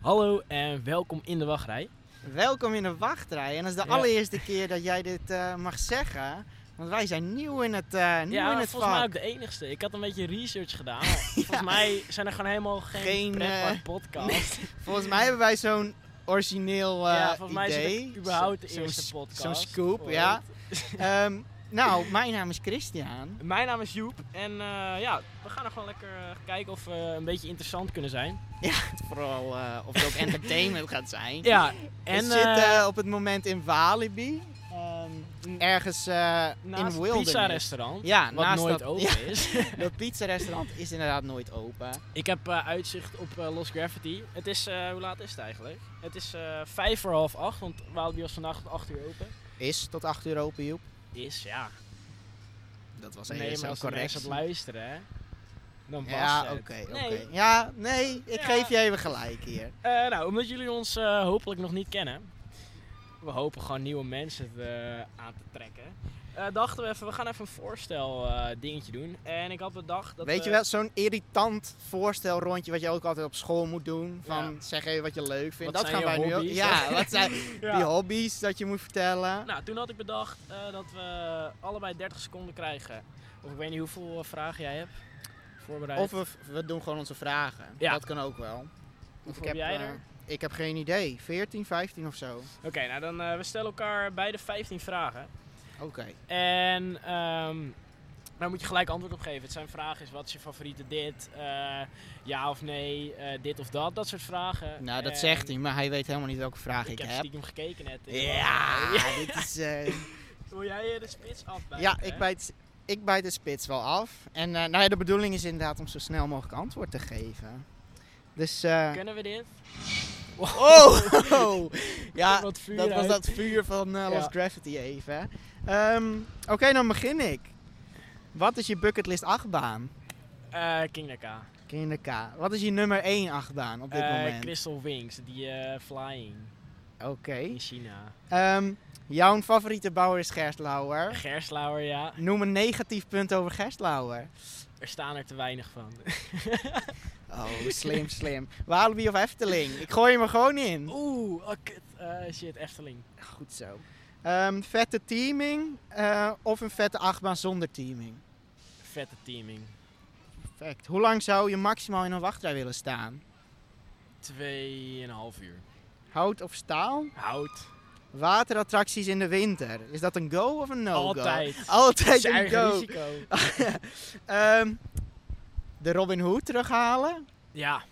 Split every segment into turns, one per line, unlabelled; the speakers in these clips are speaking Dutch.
Hallo en welkom in de wachtrij.
Welkom in de wachtrij. En dat is de
Ja.
allereerste keer dat jij dit eh, mag zeggen. Want wij zijn nieuw in het, eh nieuw
ja,
in het
volgens mij
vak.
ook de enigste. Ik had een beetje research gedaan. maar Volgens mij zijn er gewoon helemaal geen,
Geen,
pretpark
eh,
podcast.
Volgens mij hebben wij zo'n origineel eh,
ja, volgens mij
idee.
is het überhaupt de
Zo- zo'n
eerste
s-
podcast.
Zo'n scoop,
ooit.
ja. Ehm, nou, mijn naam is Christian.
Mijn naam is Joep en eh, ja, we gaan er gewoon lekker eh, kijken of we een beetje interessant kunnen zijn.
Vooral eh, of het ook entertainment gaat zijn.
Ja,
En,
en
We zitten
eh,
eh, op het moment in Walibi. Ehm, ergens eh, in
naast het
Wilderness.
pizza-restaurant,
Ja,
wat
naast
nooit
dat,
open
ja,
is.
dat pizza-restaurant is inderdaad nooit open.
Ik heb eh, uitzicht op eh, Lost Gravity. Het is, eh, hoe laat is het eigenlijk? Het is eh, vijf voor half acht, want Walibi was vandaag tot acht uur open.
Is tot 8 uur open, Joep.
Is, ja.
Dat was
Nee,
even
maar
zo
als je
correct.
het luisteren, hè, dan was
Ja,
het.
oké, oké.
Nee,
Ja, nee, ik
Ja.
geef je even gelijk hier.
eh, nou, omdat jullie ons eh, hopelijk nog niet kennen. We hopen gewoon nieuwe mensen te- aan te trekken. Eh, dachten we even, we gaan even een voorstel eh, dingetje doen. En ik had bedacht dat eh,
Weet
we-
je wel, zo'n irritant voorstelrondje wat je ook altijd op school moet doen. Van
Ja.
zeg even wat je leuk vindt.
Wat
dat
zijn
gaan wij
je
nu ook.
hobby's?
Ja, wat zijn
Ja.
die hobby's dat je moet vertellen?
Nou, toen had ik bedacht eh, dat we allebei 30 seconden krijgen. Of ik weet niet hoeveel eh, vragen jij hebt voorbereid.
Of we, we doen gewoon onze vragen.
Ja.
Dat kan ook wel. Want
Hoeveel heb jij
eh,
er?
ik heb geen idee. 14, 15 of zo.
Oké, nou dan eh, we stellen elkaar beide 15 vragen.
Oké.
En ehm, daar moet je gelijk antwoord op geven. Het zijn vragen is wat is je favoriete dit? Eh, ja of nee? Eh, dit of dat? Dat soort vragen.
Nou, dat
En
zegt hij, maar hij weet helemaal niet welke vraag
Eh, Ik
ik,
heb
heb.
stiekem gekeken net. eh.
Ja, dit is. eh,
Wil jij eh, de spits afbijten?
Ja, ik bijt, ik bijt de spits wel af. En eh, nou ja, de bedoeling is inderdaad om zo snel mogelijk antwoord te geven. Dus, eh
Kunnen we dit?
oh!
Komt
ja,
wat vuur
dat was
uit.
dat vuur van eh Lost
Ja.
Gravity even. Ehm, Oké, dan begin ik. Wat is je bucketlist achtbaan?
Eh, King Naka.
Kinder K. Wat is je nummer 1 achtbaan op dit
Eh,
moment?
Crystal Wings, die eh, flying
Oké.
in China.
Ehm, jouw favoriete bouwer is Gerstlauer.
Gerslauer, ja.
Noem een negatief punt over Gerstlauer.
Er staan er te weinig van.
Oh, slim, slim. Walibi of Efteling? Ik gooi hem er gewoon in.
Oeh, oh, kut. Eh, shit, Efteling.
Goed zo. Ehm, vette teaming eh, of een vette achtbaan zonder teaming?
Vette teaming.
Perfect. Hoe lang zou je maximaal in een wachtrij willen staan?
Tweeënhalf uur.
Hout of staal?
Hout.
Waterattracties in de winter. Is dat een go of een no-go?
Altijd. Dat is
Altijd
je
Oh, een
eigen
go.
risico.
Ehm, de Robin Hood terughalen?
Ja.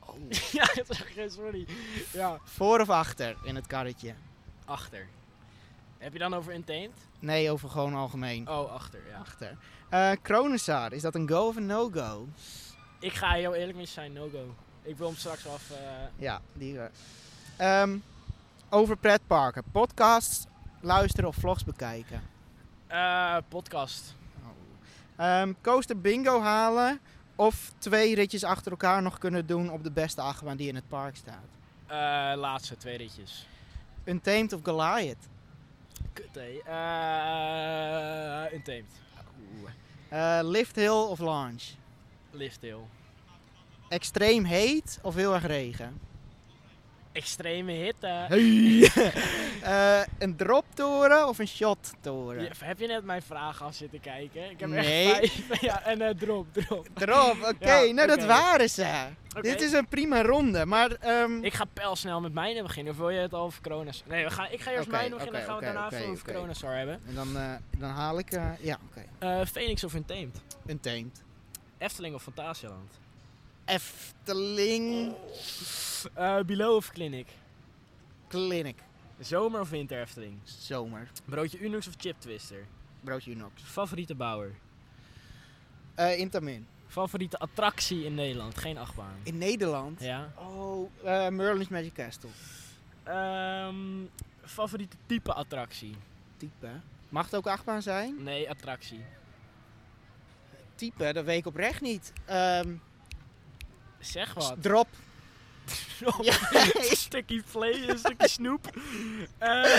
Oh.
ja, dat is geen sorry. Ja.
Voor of achter in het karretje?
Achter. Heb je dan over Untamed?
Nee, over gewoon algemeen.
Oh, achter, ja.
Achter. Eh Kronosaar, is dat een go of een no-go?
Ik ga heel eerlijk met je zijn, no-go. Ik wil hem straks af. eh,
Ja, die. eh. Ehm, over pretparken. Podcasts luisteren of vlogs bekijken. Oh.
eh, podcast.
Ehm, coaster bingo halen. Of twee ritjes achter elkaar nog kunnen doen op de beste achtbaan die in het park staat.
Eh, laatste, twee ritjes.
Untamed of Goliath.
Kut, hé. Eh, Untamed.
Eh, lift hill of launch.
Liftdeel.
Extreem heet of heel erg regen.
Extreme hitte.
Eh, een droptoren of een shottoren.
Je- heb je net mijn vraag af zitten kijken? Ik heb
Nee.
echt vijf. Ja, en eh, drop, drop.
Drop, oké.
Ja,
nou,
oké.
dat waren ze.
Oké.
Dit is een prima ronde, maar... ehm,
Ik ga pijlsnel met mijne beginnen. Of wil je het over corona's? Nee, we gaan, ik ga eerst
Oké,
mijne beginnen.
oké,
dan gaan we
oké,
daarna
oké,
even over
oké.
corona's hebben.
En dan, eh, dan haal ik... eh, ja, oké.
Eh Phoenix of Untamed?
Een teemt.
Efteling of Fantasialand?
Efteling
Eh Below of Clinic?
Clinic.
Zomer of Winter Efteling?
Zomer.
Broodje Unix of Chip Twister?
Broodje Unox.
Favoriete bouwer?
Eh, Intamin.
Favoriete attractie in Nederland? Geen achtbaan.
In Nederland?
Ja.
Oh, eh, Merlin's Magic Castle.
Ehm, favoriete type attractie?
Type. Mag het ook achtbaan zijn?
Nee, attractie.
Type, dat weet ik oprecht niet. Ehm,
Zeg wat.
drop. Ja.
Een stukje vlees, een stukje snoep. Eh,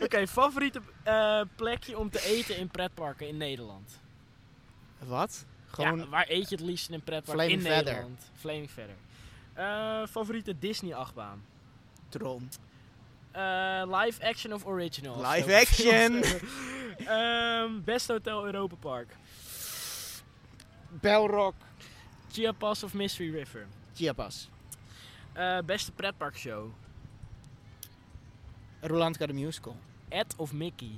Oké, favoriete eh, plekje om te eten in pretparken in Nederland?
Wat?
Gewoon...
Gewoon
waar eet je het liefst in een pretpark
Flaming
in
Feather.
Nederland? Flaming Feather. Eh, Eh, favoriete Disney-achtbaan?
Droom.
Eh, live action of original? Als
Live
het over films
action.
hebben. Ehm, Best Hotel Europa Park.
Belrock.
Chia Pass of Mystery River.
Chiapas.
Eh, beste pretparkshow.
Rolantica de Musical.
Ed of Mickey?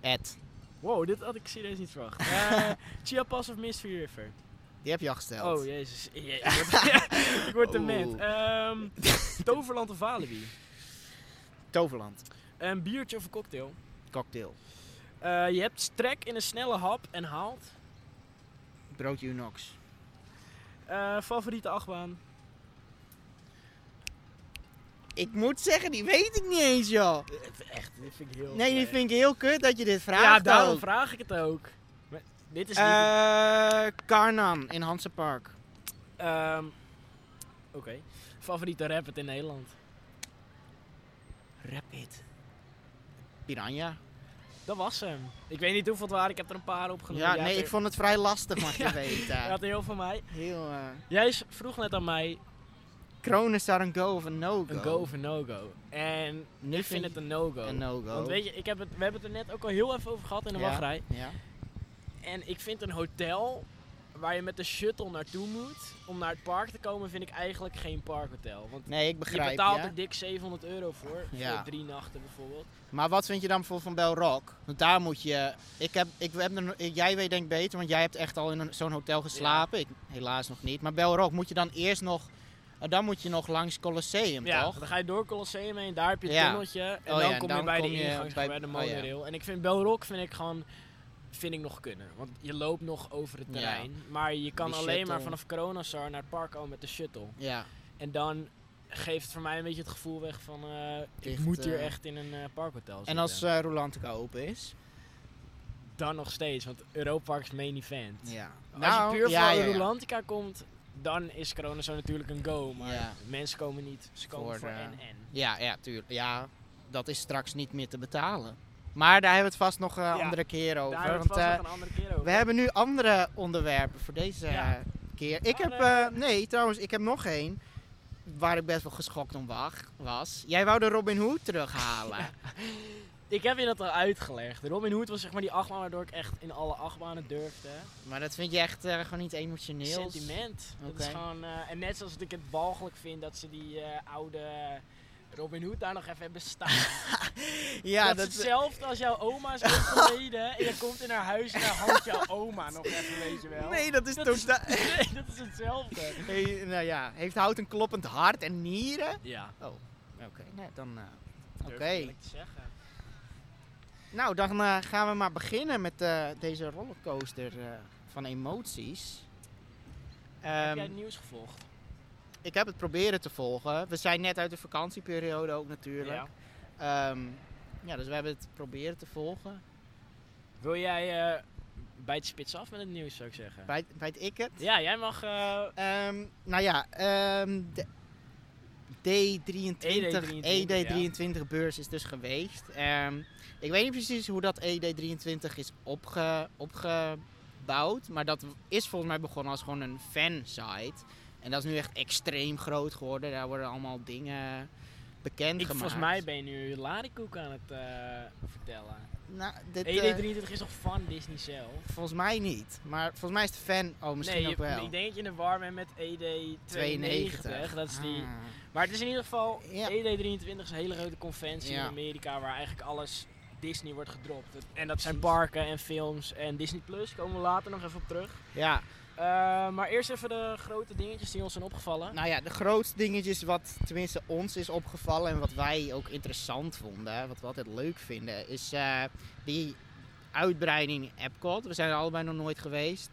Ed.
Wow, dit had ik serieus niet verwacht. Eh Chia Pass of Mystery River.
Die heb je al gesteld.
Oh, jezus. Je- je- ik word te mad.
Oeh.
Ehm, Toverland of Walibi?
Toverland.
Een biertje of een cocktail?
Cocktail.
Eh, je hebt strek in een snelle hap en haalt.
Broodje Unox.
Eh, favoriete achtbaan?
Ik moet zeggen, die weet ik niet eens, joh.
Echt, dit vind ik heel...
Nee, die vind ik heel kut dat je dit vraagt.
Ja, daarom
ook.
vraag dus ik het ook. Maar dit is niet...
Eh, Karnam in Hansenpark.
Ehm, Oké. Favoriete rapper in Nederland?
Rapid. Piranha.
Dat was hem. Ik weet niet hoeveel het waren, ik heb er een paar opgenomen.
Ja,
Jij
nee,
had
ik
er-
vond het vrij lastig, mag je
Ja.
weten.
Je had er heel veel van mij.
Heel, eh...
Jij s- vroeg net aan mij
Kronen daar een go of een no-go?
een go of een no-go. En
Nu
ik vind het een no-go.
een no-go.
Want weet je, ik heb het, we hebben het er net ook al heel even over gehad in de
Ja.
wachtrij.
Ja.
En ik vind een hotel waar je met de shuttle naartoe moet om naar het park te komen, vind ik eigenlijk geen parkhotel. Want
Nee, ik
je
begrijp
betaalt
ja.
er dik 700 euro voor,
Ja.
voor drie nachten bijvoorbeeld.
Maar wat vind je dan bijvoorbeeld van Belrock? Want daar moet je... Ik heb, ik heb er- jij weet denk ik beter, want jij hebt echt al in een- zo'n hotel geslapen. Ik helaas nog niet. Maar Belrock moet je dan eerst nog... eh, Dan moet je nog langs Colosseum,
Ja,
toch?
dan ga je door Colosseum heen, daar heb je het
Ja.
tunneltje. En
Oh
dan
ja,
kom je
dan
bij
kom
de
je
ingang, bij,
bij-
de
oh ja.
monorail. En ik vind Belrock vind ik gewoon vind ik nog kunnen. Want je loopt nog over het
Ja.
terrein. Maar je kan
Die
alleen maar
shuttle.
vanaf Coronasar naar het park komen met de shuttle.
Ja.
En dan geeft het voor mij een beetje het gevoel weg van... eh, ik
Echt,
moet hier
eh,
echt in een eh, parkhotel zitten.
En als eh Rolantica open is?
Dan nog steeds, want Europark is main event.
Ja. Nou,
als je puur
ja,
voor
ja, ja.
Rolantica komt, dan is Coronasar natuurlijk een go. Maar
Ja.
mensen komen niet. Ze komen voor,
Voor, eh,
en-en.
Ja, ja, tuurlijk. Ja, dat is straks niet meer te betalen. Maar daar hebben we het vast nog een
Ja,
andere keer over.
Daar hebben we
want
het vast
eh,
nog een andere keer over.
we hebben nu andere onderwerpen voor deze
Ja.
eh, keer. Ik
Maar,
heb, eh, nee, trouwens, ik heb nog één. Waar ik best wel geschokt om wa- was. Jij wou de Robin Hood terughalen.
Ik heb je dat al uitgelegd. Robin Hood was zeg maar die achtbaan waardoor ik echt in alle achtbanen durfde.
Maar dat vind je echt eh, gewoon niet emotioneel.
Sentiment. Dat is
Oké.
gewoon, eh, en net zoals ik het walgelijk vind dat ze die eh, oude Robin Hood daar nog even hebben staan.
Ja,
dat,
dat,
is hetzelfde als jouw oma is overleden en je komt in haar huis en dan hangt jouw oma nog even, weet je wel.
nee, dat is
Dat is-
totaal...
Nee, dat is hetzelfde.
Hey, nou ja, heeft hout een kloppend hart en nieren?
Ja, dat
Oké, nee, dan... eh,
durf
Oké.
ik eerlijk te zeggen.
Nou, dan eh, gaan we maar beginnen met eh, deze rollercoaster eh, van emoties.
heb
Ehm,
jij het nieuws gevolgd?
ik heb het proberen te volgen. We zijn net uit de vakantieperiode ook natuurlijk.
Ja.
Ja, ja dus we hebben het proberen te volgen.
Wil jij eh, bij het spits af met het nieuws, zou ik zeggen?
Bij, bij het ik het.
Ja, jij mag eh,
Ehm, nou ja, ehm, de D23,
ED23,
ED23 E beurs is dus geweest. Ehm, ik weet niet precies hoe dat ED23 is opge, opgebouwd. Maar dat is volgens mij begonnen als gewoon een fansite. En dat is nu echt extreem groot geworden. Daar worden allemaal dingen bekend
Ik,
gemaakt.
volgens mij ben je nu Larikoek aan het eh, vertellen.
Nou, dit,
E
eh,
ED23 is toch van Disney zelf?
volgens mij niet. Maar volgens mij is de fan... Oh, misschien
nee,
ook
je-
wel.
ik denk dat je in de war bent met ED92. Dat is die.
Ah.
Maar het is in ieder geval
Ja.
ED23 is een hele grote conventie in
Ja.
Amerika waar eigenlijk alles Disney wordt gedropt. Het- En dat zijn
Precies.
parken en films en Disney Plus. Komen we later nog even op terug.
Ja,
Eh, maar eerst even de grote dingetjes die ons zijn opgevallen.
Nou ja, de grootste dingetjes wat tenminste ons is opgevallen en wat wij ook interessant vonden, wat we altijd leuk vinden, is eh, die uitbreiding Epcot. We zijn er allebei nog nooit geweest.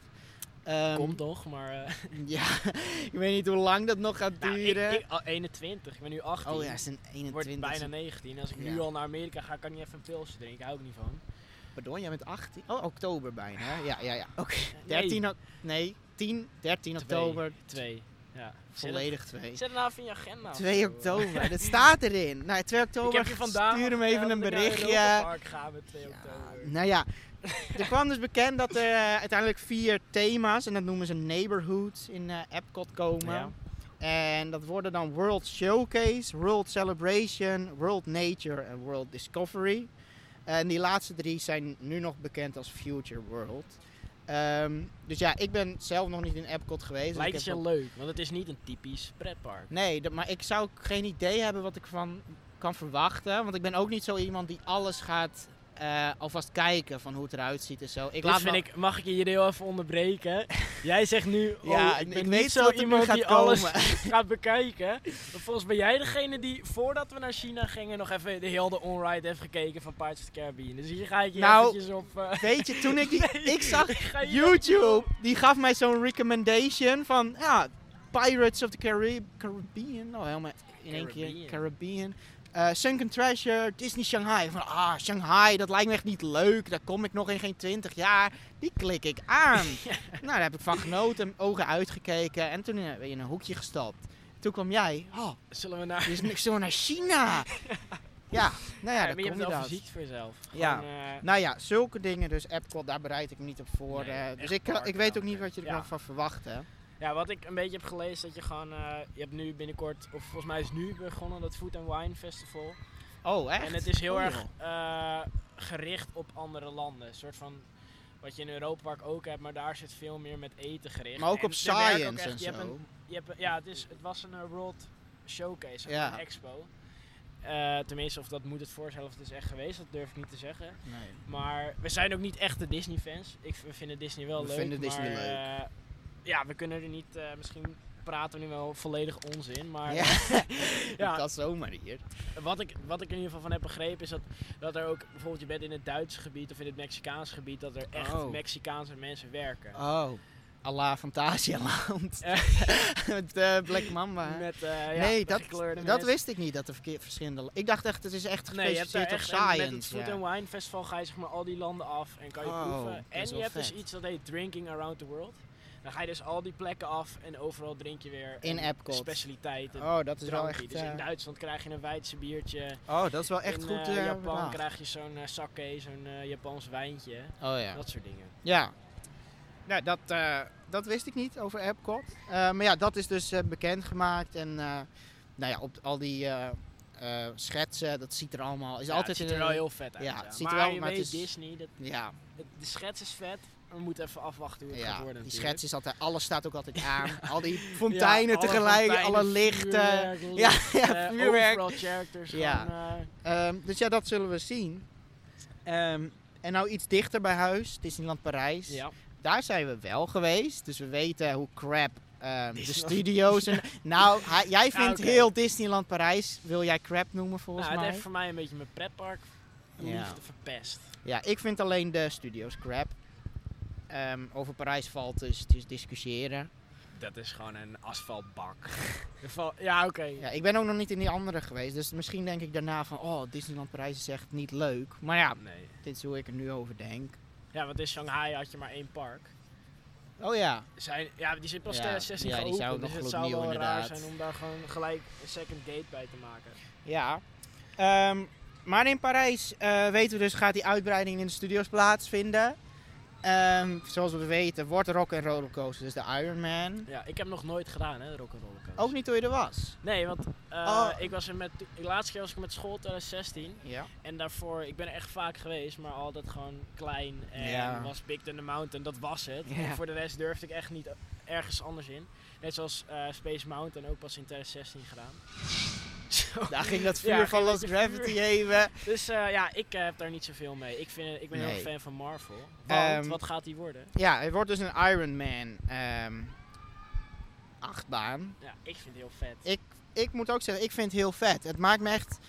Ehm,
Komt toch, maar. eh,
Ja, ik weet niet hoe lang dat nog gaat
nou, ik,
duren.
ik, al 21, ik ben nu 18.
oh ja, het is een
Wordt
21.
bijna 19. Als ik nu
Ja.
al naar Amerika ga, kan ik niet even een pilsje drinken. Hou ik niet van.
Pardon, jij bent 18? Oh, oktober bijna. Ja, ja, ja. Oké. 13
13
ok- Nee, 10, 13
Twee.
oktober.
Twee. Ja.
Volledig
Zet
2.
het nou even in je agenda. of
2
zo.
oktober, dat staat erin. Nou, 2
Ik
oktober,
heb je vandaag
stuur hem even
verteld
een
dat ik naar
berichtje.
Europa Park gaan we 2
Ja,
oktober.
nou ja, er kwam dus bekend dat er eh, uiteindelijk vier thema's, en dat noemen ze neighborhoods, in eh Epcot komen.
Ja.
En dat worden dan World Showcase, World Celebration, World Nature en World Discovery. Eh, En die laatste drie zijn nu nog bekend als Future World. Ehm, dus ja, ik ben zelf nog niet in Epcot geweest. dus ik
Lijkt
heb
je leuk, want het is niet een typisch pretpark.
Nee, dat- maar ik zou ook geen idee hebben wat ik van kan verwachten. Want ik ben ook niet zo iemand die alles gaat eh, alvast kijken van hoe het eruit ziet en zo. Ik
Ik
laat
Dus vind
wel-
ik, mag ik je hier heel even onderbreken? Jij zegt nu, oh,
Ja,
ik ben
ik
niet
weet
zo
wat er nu
iemand
gaat
die alles
komen.
gaat bekijken. Maar volgens ben jij degene die, voordat we naar China gingen, nog even de hele on-ride heeft gekeken van Pirates of the Caribbean. Dus hier ga ik je
Nou,
eventjes op... eh,
Weet je, toen ik die...
nee,
ik zag
ga je
YouTube, die gaf mij zo'n recommendation van... Ja, Pirates of the Carib- Caribbean. Nou, helemaal in één keer.
Caribbean.
Caribbean. Eh, Sunken Treasure, Disney Shanghai. Van, ah, Shanghai, dat lijkt me echt niet leuk. Daar kom ik nog in geen twintig jaar. Die klik ik aan. Nou, daar heb ik van genoten, ogen uitgekeken. En toen eh, ben je in een hoekje gestapt. Toen kwam jij. Oh,
Zullen we naar...
dit is niks zo naar China. nou Ja, nou ja,
maar je
dat
hebt
komt
wel
inderdaad.
fysiek voor jezelf.
Ja.
Gewoon, eh,
Nou ja, zulke dingen dus. Epcot, daar bereid ik me niet op voor.
Nee,
eh,
echt
dus ik, kan- ik
parken
weet
dan
ook niet
weer.
wat je er
Ja.
nog van verwacht, hè.
Ja, wat ik een beetje heb gelezen, dat je gewoon, eh, je hebt nu binnenkort, of volgens mij is nu begonnen dat Food and Wine Festival.
Oh, echt?
En het is heel
Oh,
erg
joh.
eh, gericht op andere landen. Een soort van wat je in Europa Park ook hebt, maar daar zit veel meer met eten gericht.
Maar ook
En
op
er werken ook
science
echt-
en
je hebt een-
zo.
je hebt een- ja, het, is, het was een eh, World Showcase, een
Ja.
expo. Eh, tenminste, of dat moet het voorstellen of het is echt geweest, dat durf ik niet te zeggen.
Nee.
Maar we zijn ook niet echte Disney-fans. Ik v- we vinden Disney wel
We
leuk.
vinden Disney
maar,
leuk.
eh, ja, we kunnen er niet. eh, misschien praten we nu wel volledig onzin. Maar
Ja,
ja.
dat kan zomaar hier.
wat, ik, wat ik in ieder geval van heb begrepen is dat, dat er ook bijvoorbeeld je bent in het Duitse gebied of in het Mexicaanse gebied dat er echt
Oh.
Mexicaanse mensen werken.
Oh, Allah Fantasialand.
Eh.
Met eh, Black Mamba. hè.
Met, eh, ja,
nee,
met
dat,
gekleurde
dat
mensen.
wist ik niet, dat er verkeer- verschillende... Ik dacht echt, het is echt
Nee, je hebt daar
gespecialiseerd op
echt en met het
science.
Food
ja.
and Wine Festival ga je zeg maar al die landen af en kan je
Oh, dat
proeven.
is
En
wel
je hebt dus
vet.
iets dat heet Drinking Around the World. Dan ga je dus al die plekken af en overal drink je weer
In
een
Epcot.
specialiteiten.
Oh, dat is wel
drankje.
echt...
dus in
eh,
Duitsland krijg je een Weidse biertje.
oh, dat is wel echt
in
goed
eh,
eh,
Japan
bedacht.
krijg je zo'n eh, sake, zo'n eh, Japans wijntje.
Oh ja.
Dat soort dingen.
Ja. Nou, dat, eh, dat wist ik niet over Epcot. Eh, maar ja, dat is dus eh, bekendgemaakt. En eh, nou ja, op al die eh, eh, schetsen, dat ziet er allemaal... Is
Ja,
altijd
het ziet
in
er
een-
wel heel vet uit.
ja,
ja.
het ziet er
maar
wel-
je
maar dus het
weet
is-
Disney, dat,
Ja,
het- de schets is vet. We moeten even afwachten hoe het gaat
ja
worden
die
natuurlijk.
schets is altijd... Alles staat ook altijd aan. Al die
Ja,
fonteinen
alle
tegelijk,
fonteinen,
alle lichten.
vuurwerk, eh,
ja, ja, vuurwerk.
Overal characters.
Ja.
Gewoon, eh,
Ehm, dus ja, dat zullen we zien. Ehm, en nou iets dichter bij huis, Disneyland Parijs.
ja.
Daar zijn we wel geweest, dus we weten hoe crap ehm, de
Disneyland.
studio's en... Nou, hij- jij
Ja,
vindt
oké.
heel Disneyland Parijs, wil jij crap noemen volgens
Nou, het
mij?
heeft voor mij een beetje mijn pretpark
Ja.
liefde verpest.
Ja, ik vind alleen de studio's crap. Ehm, over Parijs valt dus te discussiëren.
Dat is gewoon een asfaltbak. Er val- ja, oké.
Ja, ik ben ook nog niet in die andere geweest, dus misschien denk ik daarna van... Oh, Disneyland Parijs is echt niet leuk. Maar ja,
Nee.
dit is hoe ik er nu over denk.
Ja, want in Shanghai had je maar één park.
Oh ja,
Zijn, ja, die zit pas
Ja,
2016
ja, die
geopend,
zou
dus
nog
het zou
gloednieuw
wel raar
inderdaad.
zijn om daar gewoon gelijk een second gate bij te maken.
Ja. Ehm, maar in Parijs eh, weten we dus, gaat die uitbreiding in de studios plaatsvinden. Ehm, zoals we weten wordt Rock en Rollercoaster dus de Iron Man.
Ja, ik heb nog nooit gedaan, hè, de Rock'n'Roller Coaster.
Ook niet toen je er was.
Nee, want eh,
Oh.
ik was er met, de laatste keer was ik met school 2016.
Ja.
En daarvoor, ik ben er echt vaak geweest, maar altijd gewoon klein. En
Ja.
was Big Thunder Mountain, dat was het.
Ja.
En voor de rest durfde ik echt niet ergens anders in. Net zoals eh, Space Mountain, ook pas in 2016 gedaan. Zo.
Daar ging dat vuur
Ja,
van
ging
Lost
dat je vuur-
Gravity even.
Dus eh, ja, ik eh, heb daar niet zoveel mee. Ik, vind, ik ben heel
Nee.
erg fan van Marvel. Want,
Ehm,
wat gaat die worden?
Ja, het wordt dus een Iron Man ehm, achtbaan.
Ja, ik vind het heel vet.
Ik, ik moet ook zeggen, ik vind het heel vet. Het maakt me echt...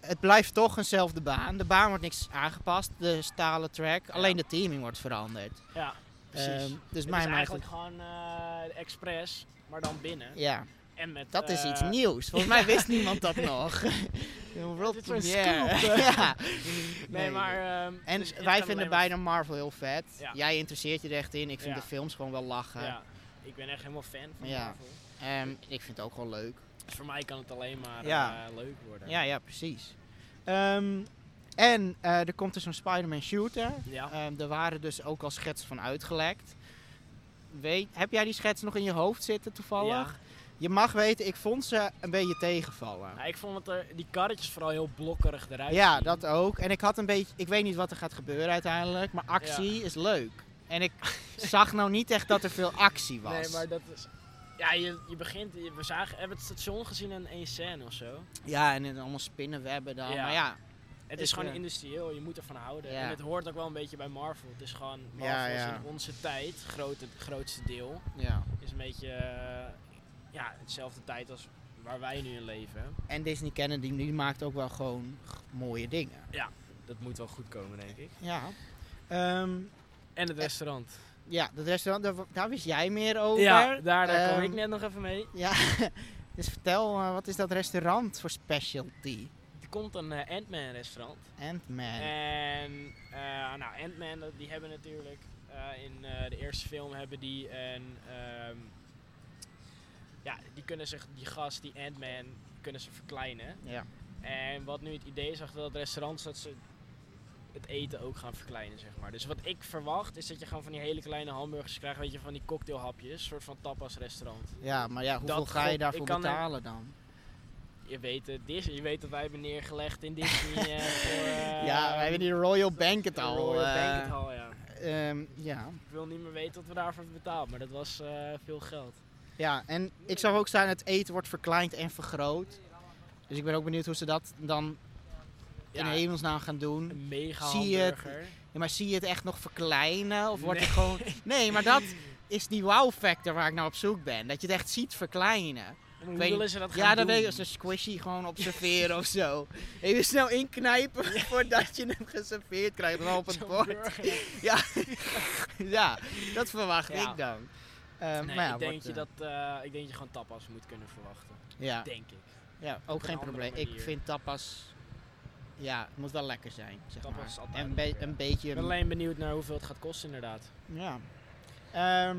Het blijft toch eenzelfde baan. De baan wordt niks aangepast, de stalen track. Alleen de teaming wordt veranderd.
ja, precies.
Ehm, dus
het
mij
is
maakt
eigenlijk
het...
gewoon eh, Express, maar dan binnen.
Ja.
En met,
Dat is iets
eh,
nieuws. Volgens mij wist niemand dat nog. Een world
Dit is een
premiere.
scoop, hè?
ja.
Nee, maar... ehm,
En
dus ik
wij
kan alleen
vinden
maar
beide Marvel heel vet.
Ja.
Jij interesseert je er echt in. Ik vind
Ja.
de films gewoon wel lachen.
Ja, ik ben echt helemaal fan van
Ja.
Marvel.
Ehm, ik vind het ook gewoon leuk.
Dus voor mij kan het alleen maar
Ja.
eh, leuk worden.
Ja, ja, precies. Ehm, en eh, er komt dus een Spider-Man shooter.
Ja.
Ehm, er waren dus ook al schetsen van uitgelekt. Weet, heb jij die schets nog in je hoofd zitten toevallig?
Ja.
Ja, Je mag weten, ik vond ze een beetje tegenvallen.
Nou, ik vond dat er, die karretjes vooral heel blokkerig eruit
Ja,
zien.
dat eh, ook. En ik had een beetje, ik weet niet wat er gaat gebeuren uiteindelijk, maar actie is leuk. En ik zag nou niet echt dat er veel actie was.
Nee, maar dat is... Ja, je, je begint... je- we zagen, hebben het station gezien in één scène of zo.
Ja, en dan allemaal spinnenwebben dan.
Ja.
Maar ja,
Het
Ik,
is gewoon
eh,
industrieel, je moet ervan houden.
Ja.
En het hoort ook wel een beetje bij Marvel. Het is gewoon, Marvel
Ja, ja.
is in onze tijd, grote, het grootste deel,
ja.
is een beetje eh, ja, hetzelfde tijd als waar wij nu in leven.
En Disney Kennedy die maakt ook wel gewoon g- mooie dingen.
Dat moet wel goed komen, denk ik.
Ja. Ehm,
En het restaurant.
ja, dat restaurant, daar, daar wist jij meer over.
Ja, daar, daar kwam
Ehm,
ik net nog even mee.
Ja, dus vertel, eh, wat is dat restaurant voor specialty?
Er komt een eh, Ant-Man restaurant.
Ant-Man.
En eh, nou, Ant-Man, dat- die hebben natuurlijk eh, in eh, de eerste film hebben die een. ehm, ja, die kunnen zich, die gast, die Ant-Man, kunnen ze verkleinen.
ja.
En wat nu het idee is achter dat restaurant, is dat ze het eten ook gaan verkleinen, zeg maar. Dus wat ik verwacht, is dat je gewoon van die hele kleine hamburgers krijgt, weet je, van die cocktailhapjes, een soort van tapas restaurant.
ja, maar ja, hoeveel
Dat
ga je
god-
daarvoor
ik kan er-
betalen dan?
Je weet het, Disney, je weet dat wij hebben neergelegd in Disney. eh, voor, eh,
ja, we hebben die Royal Banquet
de
al.
Royal
eh,
Banquet Hall, ja.
Ehm, ja.
Ik wil niet meer weten wat we daarvoor hebben betaald, maar dat was eh, veel geld.
ja, en ik zag ook staan, het eten wordt verkleind en vergroot. Dus ik ben ook benieuwd hoe ze dat dan in
Ja.
hemelsnaam gaan doen.
Een mega
Zie je het?
hamburger.
Ja, maar zie je het echt nog verkleinen? Of wordt
Nee.
het gewoon... Nee, maar dat is die wow factor waar ik naar op zoek ben. Dat je het echt ziet verkleinen.
En hoe
weet
willen ze dat gaan
Ja,
doen?
dan weet je als een squishy gewoon op serveren of zo. Even snel inknijpen voordat je hem geserveerd krijgt. Dan op het
Zo'n
bord.
burger.
Ja, dat verwacht
Ja.
ik dan. Ehm,
Nee,
maar ja,
ik, denk
wordt,
je
eh,
dat, eh, ik denk dat je gewoon tapas moet kunnen verwachten.
ja.
Denk ik.
Ja, ook
een
geen
andere
probleem. Ik
manier.
vind tapas. Ja, het moet wel lekker zijn. Zeg
Tapas
maar.
is altijd
en
lekker, ja.
een beetje.
Ik ben alleen benieuwd naar hoeveel het gaat kosten inderdaad.
Ja. Ehm,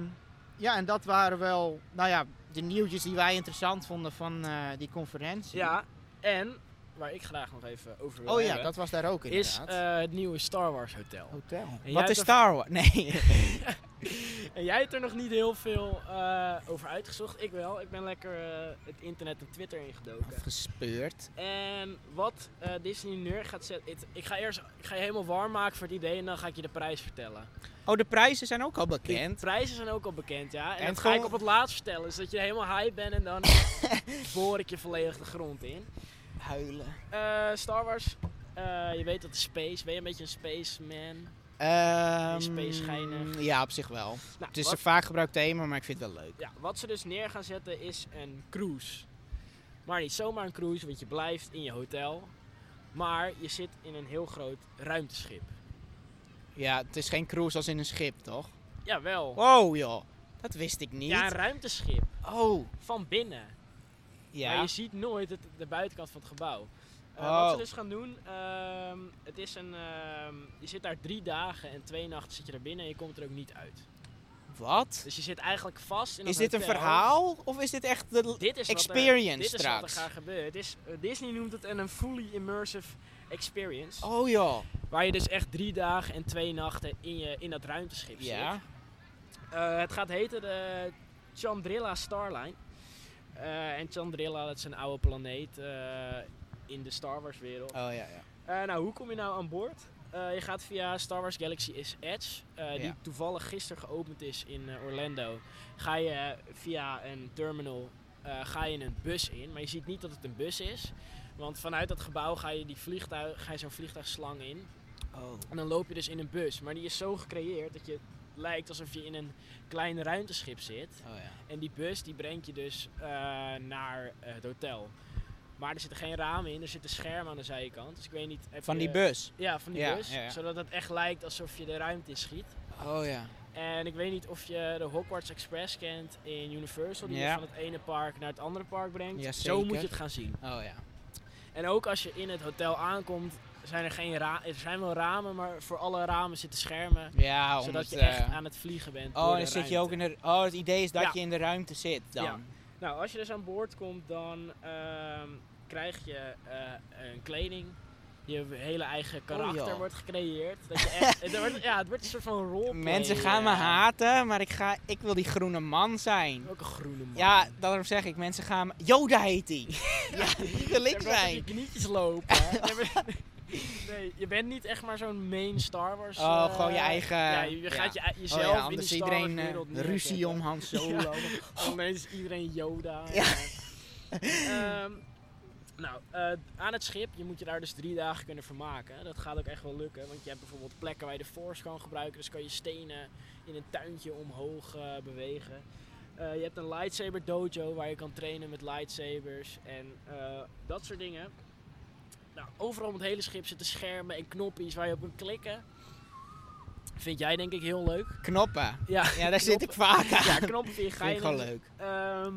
ja, en dat waren wel. Nou ja, de nieuwtjes die wij interessant vonden van eh, die conferentie.
Ja, en waar ik graag nog even over wil
Oh ja,
hebben,
dat was daar ook
is
inderdaad. Oh.
eh, het nieuwe Star Wars hotel.
Hotel.
jij
Wat
hebt
is
er-
Star Wars? Nee.
En jij hebt er nog niet heel veel eh, over uitgezocht. Ik wel. Ik ben lekker eh, het internet en Twitter ingedoken.
Gespeurd.
En wat eh, Disney neer gaat zetten. het- ik ga eerst ik ga je helemaal warm maken voor het idee en dan ga ik je de prijs vertellen.
Oh, de prijzen zijn ook al
De
bekend.
prijzen zijn ook al bekend, ja. En,
En
dat ga
gewoon-
ik op het laatst vertellen. Zodat je helemaal high bent en dan boor ik je volledig de grond in.
Huilen.
Eh, Star Wars, eh, je weet dat de space. Ben je een beetje een spaceman?
Ehm,
space geinig.
Ja, op zich wel.
Nou,
Het is
wat,
een vaak gebruikt thema, maar ik vind het wel leuk.
ja, wat ze dus neer gaan zetten is een cruise. Maar niet zomaar een cruise, want je blijft in je hotel. Maar je zit in een heel groot ruimteschip.
Ja, het is geen cruise als in een schip, toch?
Jawel.
Oh joh, dat wist ik niet.
Ja, een ruimteschip.
Oh,
Van binnen. Maar
ja.
je ziet nooit het, de buitenkant van het gebouw. Eh,
Oh.
Wat ze dus gaan doen, ehm, het is een, ehm, je zit daar drie dagen en twee nachten zit je daar binnen en je komt er ook niet uit.
Wat?
Dus je zit eigenlijk vast in
Is
dat
dit een
hotel.
verhaal of is dit echt de l-
Dit is wat er-
experience
dit is wat
straks?
er gaat gebeuren. Het is, eh, Disney noemt het een een fully immersive experience.
Oh joh,
Waar je dus echt drie dagen en twee nachten in, je, in dat ruimteschip zit.
ja.
Eh, het gaat heten de Chandrilla Starline. Eh, en Chandrilla, dat is een oude planeet eh, in de Star Wars wereld.
Oh ja, ja.
Eh, nou, hoe kom je nou aan boord? Eh, je gaat via Star Wars Galaxy is Edge, eh, die
Ja.
toevallig gisteren geopend is in eh, Orlando. Ga je eh, via een terminal eh, ga je een bus in, maar je ziet niet dat het een bus is. Want vanuit dat gebouw ga je, die vliegtuig, ga je zo'n vliegtuigslang in.
Oh.
En dan loop je dus in een bus. Maar die is zo gecreëerd dat je het lijkt alsof je in een klein ruimteschip zit.
Oh ja.
En die bus die brengt je dus eh, naar eh, het hotel. Maar er zitten geen ramen in, er zitten schermen aan de zijkant. Dus ik weet niet. heb
Van
je-
die bus.
Ja, van die
Ja,
bus.
ja, ja.
Zodat het echt lijkt alsof je de ruimte in schiet.
Oh ja.
En ik weet niet of je de Hogwarts Express kent in Universal. Die
Ja.
je van het ene park naar het andere park brengt.
Ja,
Zo moet
zeker.
je het gaan zien.
Oh ja.
En ook als je in het hotel aankomt, zijn er geen ra- Er zijn wel ramen, maar voor alle ramen zitten schermen.
Ja, om
zodat
het,
je
eh,
echt aan het vliegen bent.
Oh,
door
dan
de
zit je
ruimte.
ook in de... Oh, het idee is dat
Ja.
je in de ruimte zit dan.
Ja. Nou, als je dus aan boord komt, dan ehm, krijg je eh, een kleding. je hele eigen karakter
Oh, joh.
wordt gecreëerd. Dat je echt, het, wordt, ja, het wordt een soort van eh, rol.
Mensen gaan me haten, maar ik, ga, ik wil die groene man zijn.
Ook een groene man.
Ja, daarom zeg ik, mensen gaan me... Yoda heet die. ja, die wil ik
Ja, maar op
zijn. Oh
Je knietjes lopen. hè. Ja, maar- nee, je bent niet echt maar zo'n main Star Wars.
Oh,
eh,
gewoon je eigen-
Ja, je je
ja.
gaat je, e-
Oh
jezelf
ja,
in die
anders
Star
iedereen
Wars
eh,
wereld neerzetten.
ruzie om Han Solo.
En Opeens is iedereen Yoda.
Oh. Ja.
Ja. Ehm, nou, eh, aan het schip, je moet je daar dus drie dagen kunnen vermaken. Dat gaat ook echt wel lukken, want je hebt bijvoorbeeld plekken waar je de force kan gebruiken. Dus kan je stenen in een tuintje omhoog eh, bewegen. Eh, je hebt een lightsaber dojo waar je kan trainen met lightsabers en eh, dat soort dingen. Nou, overal op het hele schip zitten schermen en knoppies waar je op kunt klikken. Vind jij denk ik heel leuk.
Knoppen.
Ja,
Ja, daar zit ik vaak aan.
ja knoppen vind je
Vind ik gewoon
geinig.
leuk.
Ehm,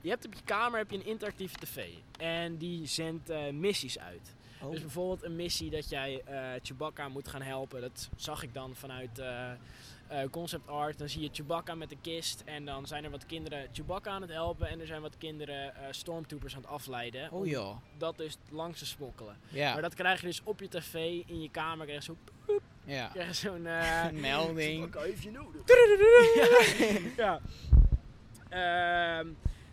je hebt op je kamer heb je een interactieve tv. En die zendt eh, missies uit.
Oh.
Dus bijvoorbeeld een missie dat jij eh, Chewbacca moet gaan helpen. Dat zag ik dan vanuit eh, eh, concept art. Dan zie je Chewbacca met de kist. En dan zijn er wat kinderen Chewbacca aan het helpen. En er zijn wat kinderen eh, stormtroopers aan het afleiden.
Oh joh.
Om dat dus langs te smokkelen. Maar
Ja,
dat krijg je dus op je tv. In je kamer krijg je zo'n
ja.
krijg je zo'n, eh,
Een melding.
Chewbacca heeft je nodig. ja. ja. Ehm,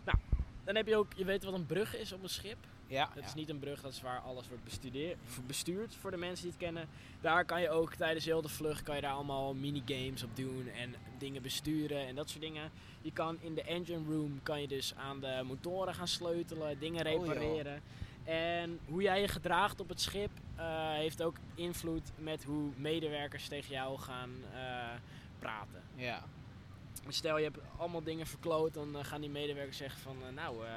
nou, dan heb je ook... Je weet wat een brug is op een schip.
Ja,
Dat is
ja.
niet een brug, dat is waar alles wordt bestudeer- v- bestuurd voor de mensen die het kennen. Daar kan je ook tijdens heel de vlucht kan je daar allemaal minigames op doen en dingen besturen en dat soort dingen. Je kan in de engine room kan je dus aan de motoren gaan sleutelen, dingen
Oh, joh.
repareren. en hoe jij je gedraagt op het schip eh, heeft ook invloed met hoe medewerkers tegen jou gaan eh, praten. Dus
ja.
Stel je hebt allemaal dingen verkloot, dan eh, gaan die medewerkers zeggen van eh, nou, eh,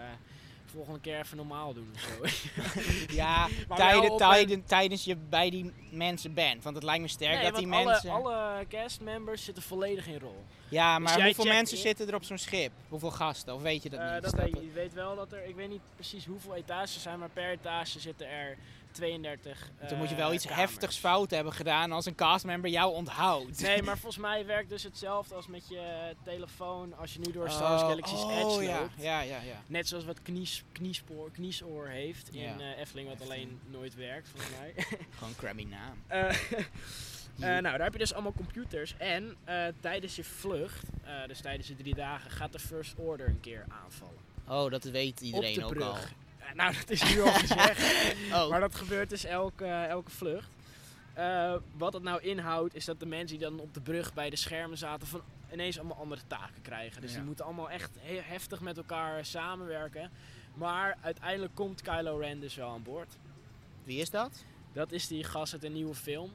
volgende keer even normaal doen of zo.
Ja,
wel
tijden,
op
tijden, tijdens je bij die mensen bent. Want het lijkt me sterk
nee,
dat die
want alle,
mensen...
alle castmembers zitten volledig in rol.
Ja, maar
jij
hoeveel
checkt
mensen
in-
zitten er op zo'n schip? Hoeveel gasten? Of weet je dat
Eh,
niet?
dat
Is dat-
weet je. Je weet wel dat er, ik weet niet precies hoeveel etages er zijn, maar per etage zitten er 32.
Dan
eh,
moet je wel iets
kamers.
heftigs fout hebben gedaan als een castmember jou onthoudt.
Nee, maar volgens mij werkt dus hetzelfde als met je telefoon als je nu door Star
Oh,
Wars Galaxy's
oh,
Edge loopt.
ja, ja, ja, ja.
Net zoals wat knies, kniespoor, kniesoor heeft in
Ja.
eh, Efteling, wat alleen nooit werkt volgens mij.
Gewoon een crammy naam.
Eh, Eh, nou, daar heb je dus allemaal computers. En eh, tijdens je vlucht, eh, dus tijdens je drie dagen, gaat de First Order een keer aanvallen.
oh, dat weet iedereen
op
ook
de
al.
brug. Eh, nou, dat is nu al gezegd.
Oh,
Maar dat gebeurt dus elke, elke vlucht. Eh, wat dat nou inhoudt, is dat de mensen die dan op de brug bij de schermen zaten, van ineens allemaal andere taken krijgen. Dus
Ja.
die moeten allemaal echt heel heftig met elkaar samenwerken. Maar uiteindelijk komt Kylo Ren dus wel aan boord.
wie is dat?
Dat is die gast uit een nieuwe film.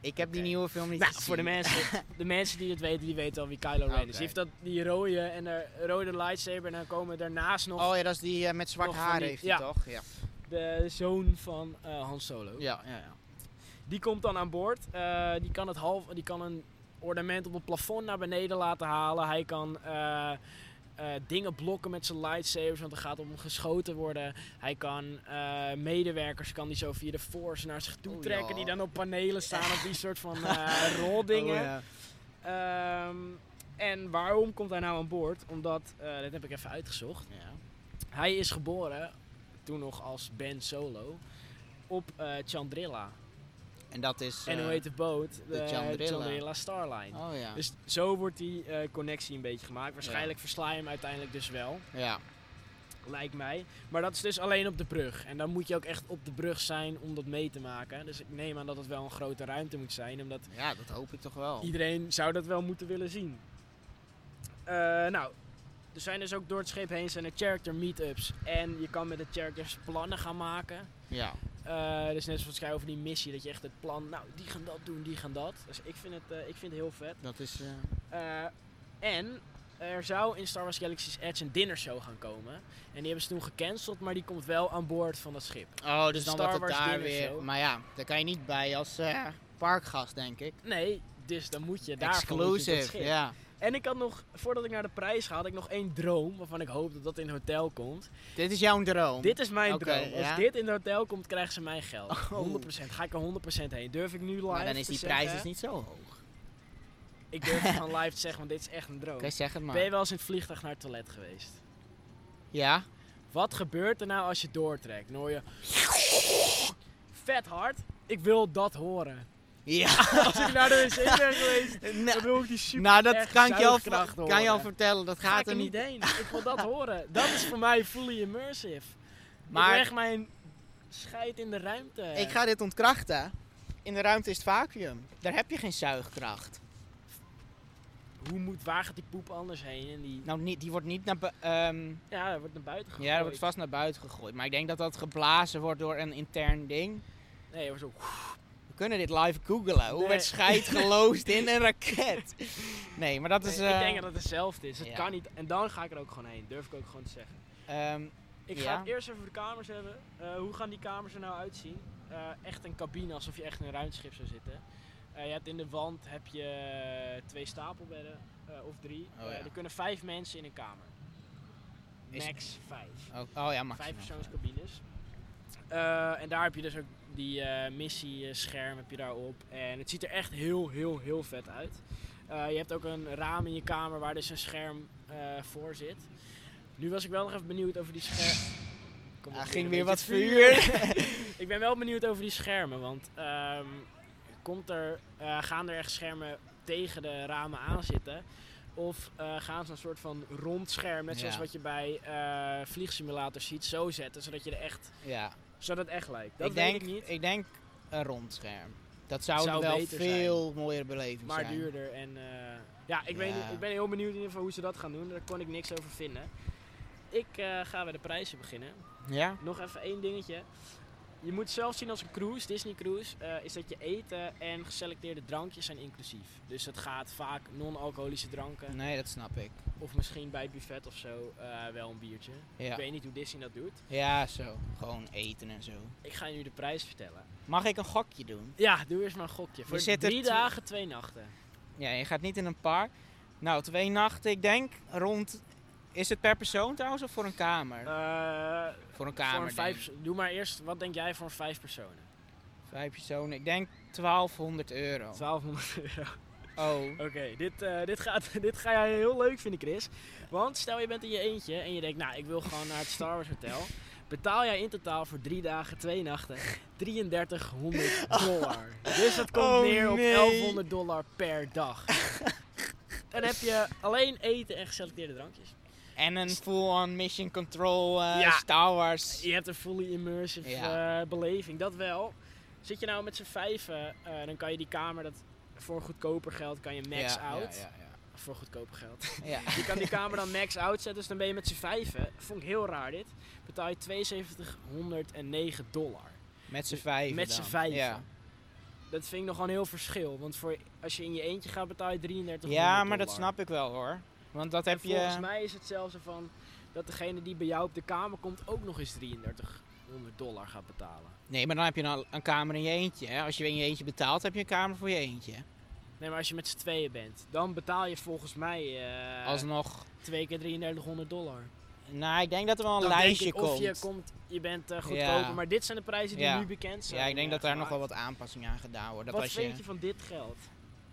Ik heb die
Oké.
nieuwe film niet
Nou,
gezien.
voor de mensen, de mensen die het weten, die weten al wie Kylo Ren is.
Oké.
Die heeft dat, die rode en de rode lightsaber en dan komen daarnaast nog
Oh ja, dat is die eh, met zwart
nog van
haar
die-
heeft hij
ja.
toch? Ja.
de zoon van eh, Han Solo.
Ja, ja, ja.
Die komt dan aan boord. Eh, die, kan het half, die kan een ornament op het plafond naar beneden laten halen. Hij kan eh, eh, dingen blokken met zijn lightsabers, want er gaat om geschoten worden. Hij kan eh, medewerkers kan die zo via de force naar zich toe
Oh,
trekken.
ja.
Die dan op panelen staan of die soort van eh, roldingen.
Oh, ja.
Ehm, en waarom komt hij nou aan boord? Omdat, eh dat heb ik even uitgezocht.
Ja.
Hij is geboren, toen nog als Ben Solo, op eh, Chandrilla.
En dat is...
en
eh,
hoe heet de boot? De,
Chandrilla.
Starline.
Oh ja.
Dus zo wordt die eh, connectie een beetje gemaakt. Waarschijnlijk versla je hem uiteindelijk dus wel,
ja.
lijkt mij. Maar dat is dus alleen op de brug. En dan moet je ook echt op de brug zijn om dat mee te maken. Dus ik neem aan dat het wel een grote ruimte moet zijn, omdat
ja, dat hoop ik toch wel.
Iedereen zou dat wel moeten willen zien. Eh, nou, er zijn dus ook door het schip heen zijn er character meetups. En je kan met de characters plannen gaan maken.
Ja.
Eh, dus net zoals jij over die missie, dat je echt het plan, nou, die gaan dat doen, die gaan dat. Dus ik vind het, eh, ik vind het heel vet.
Dat is... eh,
Eh, en er zou in Star Wars Galaxy's Edge een dinnershow gaan komen. En die hebben ze toen gecanceld, maar die komt wel aan boord van dat schip.
Oh, dus
Star
dan wordt het
Wars
daar
dinner
weer...
show.
Maar ja, daar kan je niet bij als eh, parkgast, denk ik.
Nee, dus dan moet je daar
Exclusive, ja.
En ik had nog, voordat ik naar de prijs ga, had ik nog één droom. Waarvan ik hoop dat dat in het hotel komt.
Dit is jouw droom.
Dit is mijn
Oké,
droom. Als
ja.
dit in het hotel komt, krijgen ze mijn geld.
Oh.
100%. Ga ik er 100% heen. Durf ik nu live
maar dan is
te
die
zeggen?
prijs dus niet zo hoog.
Ik durf het gewoon live te zeggen, want dit is echt een droom.
Oké, zeg het
Ben je
maar.
wel eens in het vliegtuig naar het toilet geweest?
Ja?
Wat gebeurt er nou als je doortrekt? Dan hoor je... vet hard. Ik wil dat horen.
Ja.
Als ik naar de wc ben geweest, dan
nou,
wil ik die super
nou, dat
erg
kan ik je al,
zuigkracht
kan
horen.
je al vertellen. Dat
Ga
gaat
ik
er niet.
heen. Ik wil dat horen. Dat is voor mij fully immersive. Maar
Maar-
ik leg mijn scheid in de ruimte.
Ik ga dit ontkrachten. In de ruimte is het vacuüm. Daar heb je geen zuigkracht.
Hoe moet, waar gaat die poep anders heen? En die,
Nou, niet, die wordt niet naar... bu- ehm,
ja, dat wordt naar buiten gegooid.
ja, dat wordt vast naar buiten gegooid. Maar ik denk dat dat geblazen wordt door een intern ding.
Nee, dat wordt zo...
We kunnen dit live googlen. Hoe
Nee.
werd scheid geloosd in een raket? Nee, maar dat is...
Nee, ik
eh,
denk dat het hetzelfde is. Het
ja.
kan niet. En dan ga ik er ook gewoon heen. Durf ik ook gewoon te zeggen.
ehm,
Ik
Ja.
ga het eerst even over de kamers hebben. Eh, hoe gaan die kamers er nou uitzien? Eh, echt een cabine, alsof je echt in een ruimteschip zou zitten. Eh, je hebt in de wand heb je eh, twee stapelbedden, eh, of drie.
Oh,
Eh,
ja.
er kunnen vijf mensen in een kamer.
Is-
Max vijf.
oh, oh ja, maximaal.
Vijf persoonscabines. Eh, en daar heb je dus ook die eh missiescherm heb je daarop. En het ziet er echt heel, heel, heel vet uit. Eh, je hebt ook een raam in je kamer waar dus een scherm eh, voor zit. Nu was ik wel nog even benieuwd over die schermen.
Ah, ging weer wat vuur.
ik ben wel benieuwd over die schermen, want ehm, komt er, eh, gaan er echt schermen tegen de ramen aan zitten? Of eh, gaan ze een soort van rond scherm, net zoals
Ja.
wat je bij eh vliegsimulators ziet, zo zetten, zodat je er echt,
Ja.
zodat het echt lijkt. Dat
ik
weet
denk,
ik niet,
denk een rond scherm. Dat zou,
Zou
wel
beter
veel mooiere beleving
maar
zijn.
duurder. En eh, ja, ik, Weet,
Ja.
niet- ik ben heel benieuwd in ieder geval hoe ze dat gaan doen. Daar kon ik niks over vinden. Ik eh, ga bij de prijzen beginnen.
Ja?
Nog even één dingetje. Je moet zelf zien als een cruise, Disney cruise, eh, is dat je eten en geselecteerde drankjes zijn inclusief. Dus dat gaat vaak non-alcoholische dranken.
Nee, dat snap ik.
Of misschien bij het buffet of zo eh, wel een biertje. Ik
Ja.
weet niet hoe Disney dat doet.
ja, zo. Gewoon eten en zo.
Ik ga je nu de prijs vertellen.
Mag ik een gokje doen?
Ja, doe eerst maar een gokje. Voor
zit er
drie
twe-
dagen, twee nachten.
Ja, je gaat niet in een paar. Nou, twee nachten, ik denk rond... Is het per persoon trouwens of voor een kamer?
Eh,
voor een kamer,
voor een
denk
vijf,
ik.
perso- doe maar eerst, wat denk jij voor vijf personen?
Vijf personen. Ik denk 1200 euro.
1200 euro.
Oh.
Oké, dit, eh, dit, gaat, dit ga jij heel leuk vinden, Chris. Want stel je bent in je eentje en je denkt, nou, ik wil gewoon naar het Star Wars Hotel. Betaal jij in totaal voor drie dagen, twee nachten, 3300 dollar. Dus dat komt
Oh,
neer op
nee.
1100 dollar per dag. Dan heb je alleen eten en geselecteerde drankjes.
En een full-on mission control eh,
Ja.
Star Wars.
Je hebt een fully immersive
Ja.
eh, beleving, dat wel. Zit je nou met z'n vijven, eh, dan kan je die kamer, dat voor goedkoper geld kan je max
Ja,
out.
Ja, ja,
Voor goedkoper geld.
ja. Ja.
Je kan die kamer dan max out zetten, dus dan ben je met z'n vijven. Vond ik heel raar dit. Betaal je 7209 dollar.
Met z'n vijven
Met z'n
dan.
vijven.
Ja.
Dat vind ik nog wel een heel verschil. Want voor, als je in je eentje gaat, betaal je 33
Ja, maar dat snap ik wel hoor. Want dat heb
en volgens
je.
mij is het zelfs zo van dat degene die bij jou op de kamer komt ook nog eens 3300 dollar gaat betalen.
Nee, maar dan heb je een, een kamer in je eentje. Hè? Als je in je eentje betaalt, heb je een kamer voor je eentje.
Nee, maar als je met z'n tweeën bent, dan betaal je volgens mij eh
Alsnog.
twee keer 3300 dollar.
Nou, ik denk dat er wel een
Dan denk
lijstje
ik,
komt.
Of je komt, je bent eh, goedkoper,
Ja.
maar dit zijn de prijzen die
Ja.
nu bekend zijn.
ja, ik denk
eh,
dat daar nog
gemaakt.
wel wat aanpassingen aan gedaan worden. Dat
Wat
als
vind je...
je
van dit geld?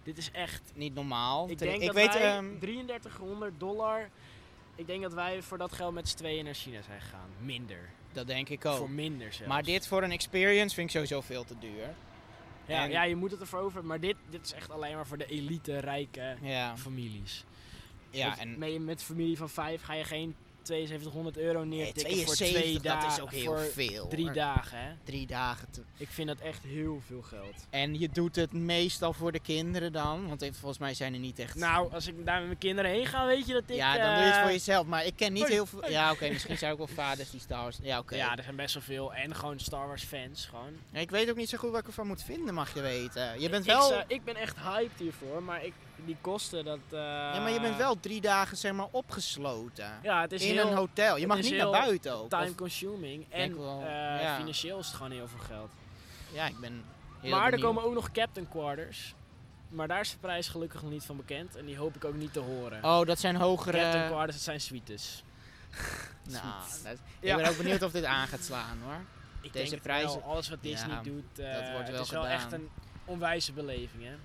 Dit is echt.
niet normaal.
Ik
Ter-
denk
ik
dat
weet,
wij
ehm,
3300 dollar. Ik denk dat wij voor dat geld met z'n tweeën naar China zijn gegaan. Minder.
dat denk ik ook.
Voor minder zelfs.
Maar dit voor een experience vind ik sowieso veel te duur.
Ja,
en-
ja, je moet het ervoor over. Maar dit, dit is echt alleen maar voor de elite rijke
Ja,
families.
ja
met,
en
met, met familie van vijf ga je geen 7200 euro
nee,
neertikken voor
72,
twee
dat
dagen.
is ook heel
voor
veel.
Drie
hoor.
dagen, hè?
drie dagen te
Ik vind dat echt heel veel geld.
En je doet het meestal voor de kinderen dan, want ik- volgens mij zijn er niet echt...
Nou, als ik daar met mijn kinderen heen ga, weet je dat ik.
ja, dan doe je het
eh,
voor jezelf, maar ik ken niet
Hoi,
heel veel... Ja, oké, misschien zijn ook wel vaders die Star Wars... Ja, oké.
Ja, er zijn best wel veel. En gewoon Star Wars fans. Gewoon.
Ik weet ook niet zo goed wat ik ervan moet vinden, mag je weten. Je bent
Ik- Ik,
wel...
zou- ik ben echt hyped hiervoor, maar ik, die kosten dat... eh,
Ja, maar je bent wel drie dagen, zeg maar, opgesloten.
Ja, het is
In
heel
een hotel. Je
het
mag
is
niet naar
heel
buiten ook.
time
Of-
consuming
Denk
en
wel,
eh,
ja.
financieel is het gewoon heel veel geld.
Ja, ik ben heel
maar er
benieuwd.
komen ook nog captain quarters. Maar daar is de prijs gelukkig nog niet van bekend en die hoop ik ook niet te horen.
Oh, dat zijn hogere...
Captain quarters, dat zijn suites.
Nou, dat-
Ja.
Ik ben ook benieuwd of dit aan gaat slaan, hoor.
Ik
Deze
denk het
prijzen-
wel, alles wat Disney
Ja,
doet, eh,
dat wordt wel
het is wel
gedaan.
echt een onwijze beleving. Hè?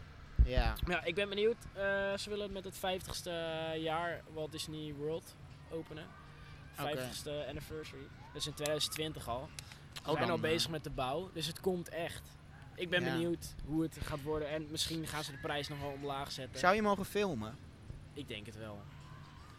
Ja.
Maar Ja, ik ben benieuwd. Eh, ze willen met het 50ste jaar Walt Disney World openen.
Oké.
50ste anniversary. Dat is in 2020 al. We zijn
dan,
al
eh,
bezig met de bouw, dus het komt echt. Ik ben
Ja.
benieuwd hoe het gaat worden en misschien gaan ze de prijs nog wel omlaag zetten.
Zou je mogen filmen?
Ik denk het wel.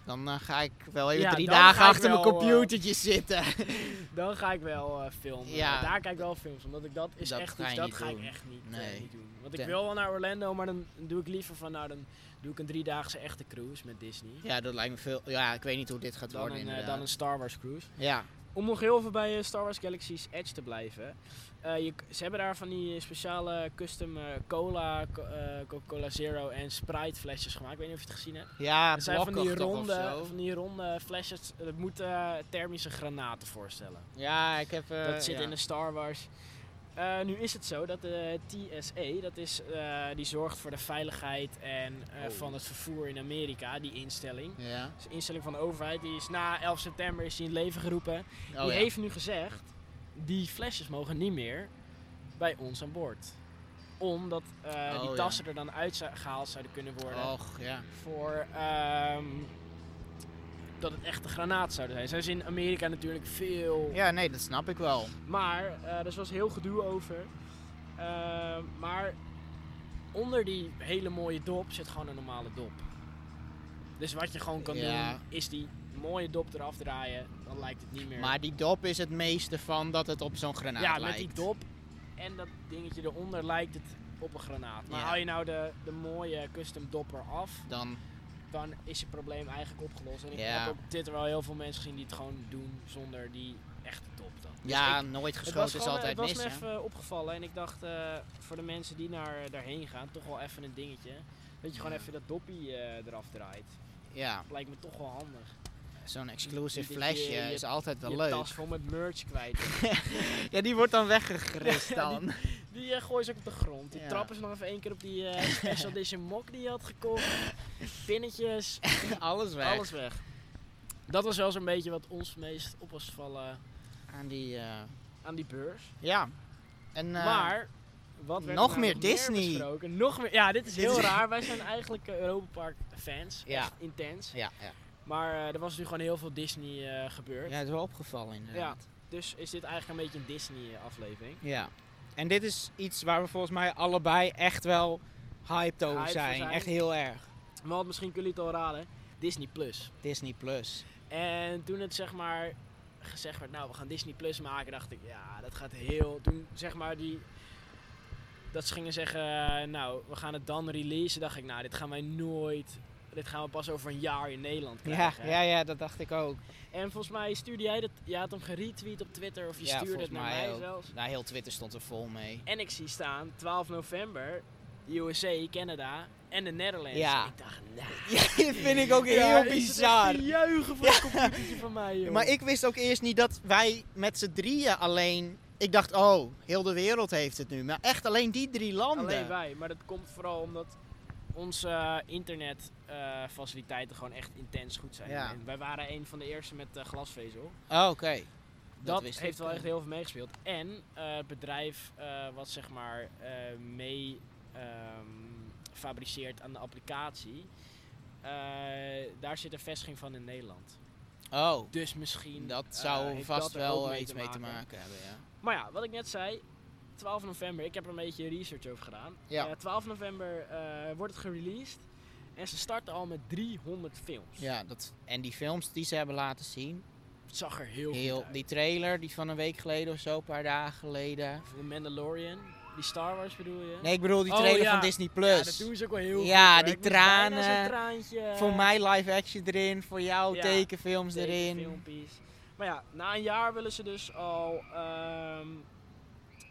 Dan eh, ga ik wel even
Ja,
drie
dan
dagen
ga ik
achter mijn
wel, eh,
computertje zitten.
Dan ga ik wel eh, filmen.
Ja.
Daar kijk ik wel films, omdat ik dat is
Dat
echt
ga je
iets, dat
niet
ga
doen.
ik echt niet, eh,
Nee.
niet doen. Want ik
Ten-
wil wel naar Orlando, maar dan doe ik liever van nou dan doe ik een driedaagse echte cruise met Disney.
Ja, dat lijkt me veel. Ja, ik weet niet hoe dit gaat
Dan
worden
een, eh,
inderdaad.
dan een Star Wars cruise.
Ja,
Om nog heel even bij eh, Star Wars Galaxy's Edge te blijven. eh, je, ze hebben daar van die speciale custom eh, cola, co- eh, Coca-Cola Zero en Sprite flesjes gemaakt. Ik weet niet of je het gezien hebt.
ja,
Het zijn van die,
blokkig toch of
ronde,
zo?
van die ronde flesjes. Dat moeten eh, thermische granaten voorstellen.
Ja, ik heb. eh,
dat zit
ja.
in de Star Wars. Eh, nu is het zo dat de TSA, dat is, eh, die zorgt voor de veiligheid en, eh,
Oh.
van het vervoer in Amerika, die instelling.
Ja.
Dat is een instelling van de overheid. Die is na 11 september is die in het leven geroepen
Oh,
die
ja.
heeft nu gezegd, die flesjes mogen niet meer bij ons aan boord. Omdat eh,
Oh,
die
ja. Oh.
tassen er dan uit zou- gehaald zouden kunnen worden.
Och, ja.
Voor ehm, dat het echte granaat zouden zijn. Zijn ze in Amerika natuurlijk veel.
Ja, nee, dat snap ik wel.
Maar eh er was heel gedoe over. Ehm, maar onder die hele mooie dop zit gewoon een normale dop. Dus wat je gewoon kan
Ja.
doen, is die mooie dop eraf draaien. Dan lijkt het niet meer.
Maar die dop is het meeste van dat Nou, het op zo'n granaat
Ja,
lijkt.
met die dop en dat dingetje eronder lijkt het op een granaat. Maar
Ja.
haal je nou de, de mooie custom dopper af,
Dan,
dan is je probleem eigenlijk opgelost. En ik
Ja.
heb op Twitter wel heel veel mensen gezien die het gewoon doen zonder die echte dop dan. Dus
ja,
ik-
nooit
het
geschoten
was,
is
gewoon, eh,
altijd
het was
mis.
me
hè?
even eh, opgevallen en ik dacht eh, voor de mensen die naar, daarheen gaan, toch wel even een dingetje. Dat je gewoon
Ja.
even dat doppie eh, eraf draait.
Ja,
Lijkt me toch wel handig.
zo'n exclusive
dat je-
flesje
je-
is altijd wel
je
leuk.
tas vol met merch kwijt.
Ja, die wordt dan weggegrist dan.
Die eh, gooien ze ook op de grond. Die
Ja.
trappen ze nog even één keer op die eh, special edition mok die je had gekocht. Pinnetjes,
Alles weg.
alles weg. Dat was wel zo'n beetje wat ons meest op was gevallen
Aan die, eh,
aan die beurs.
ja. En, eh,
maar, wat werd er
nog
nou
meer Disney.
besproken? nog meer, ja, dit is
Dit
heel
is-
raar. Wij zijn eigenlijk eh, Europa Park fans.
Ja.
Echt intens.
Ja, ja.
Maar eh, er was nu gewoon heel veel Disney eh, gebeurd.
ja, het is wel opgevallen inderdaad.
Dus is dit eigenlijk een beetje een Disney eh, aflevering.
Ja. En dit is iets waar we volgens mij allebei echt wel hyped over
Hyped voor
zijn.
zijn.
Echt heel erg.
Want misschien kunnen jullie het al raden. Disney Plus.
Disney Plus.
En toen het zeg maar gezegd werd, nou we gaan Disney Plus maken, dacht ik, ja dat gaat heel. Toen zeg maar die. Dat ze gingen zeggen, nou we gaan het dan releasen, dacht ik, nou dit gaan wij nooit. Dit gaan we pas over een jaar in Nederland
Ja,
krijgen.
ja, ja, dat dacht ik ook.
En volgens mij stuurde jij dat. Je had hem geretweet op Twitter of je
Ja,
stuurde het
volgens
naar
mij
mij,
ook.
zelfs.
Nou, heel Twitter stond er vol mee.
En ik zie staan 12 november, USA, Canada en de Netherlands.
Ja.
Ik dacht, nou.
Ja, dat vind ik ook
ja,
heel
is het echt
bizar.
te juichen voor een computertje van mij, joh.
Maar ik wist ook eerst niet dat wij met z'n drieën alleen... Ik dacht, oh, heel de wereld heeft het nu. Maar echt alleen die drie landen.
Alleen wij, maar dat komt vooral omdat onze eh, internetfaciliteiten gewoon echt intens goed zijn.
Ja.
En wij waren een van de eerste met eh, glasvezel.
Oh, oké.
Dat,
wist
heeft
ik,
wel
eh.
echt heel veel meegespeeld. En eh, het bedrijf eh, wat zeg maar eh, mee ehm, fabriceert aan de applicatie, eh, daar zit een vestiging van in Nederland.
Oh,
Dus misschien.
dat
eh,
zou
heeft
vast
dat er
wel
ook
iets mee te maken hebben, ja.
maar ja, wat ik net zei, 12 november, ik heb er een beetje research over gedaan.
Ja.
Eh, 12 november eh, wordt het gereleased. En ze starten al met 300 films.
Ja, dat, en die films die ze hebben laten zien.
Het zag er heel,
Heel,
goed uit.
die trailer die van een week geleden of zo, een paar dagen geleden.
De Mandalorian, die Star Wars bedoel je?
Nee, ik bedoel die
Oh,
trailer
ja.
van Disney
Ja, dat
Plus.
doen ze ook wel heel
Ja,
goed. hoor.
die
Ik moest bijna
tranen.
zo'n traantje.
voor mij live action erin, voor jou
Ja,
tekenfilms
tegen
erin.
filmpjes. Maar ja, na een jaar willen ze dus al ehm,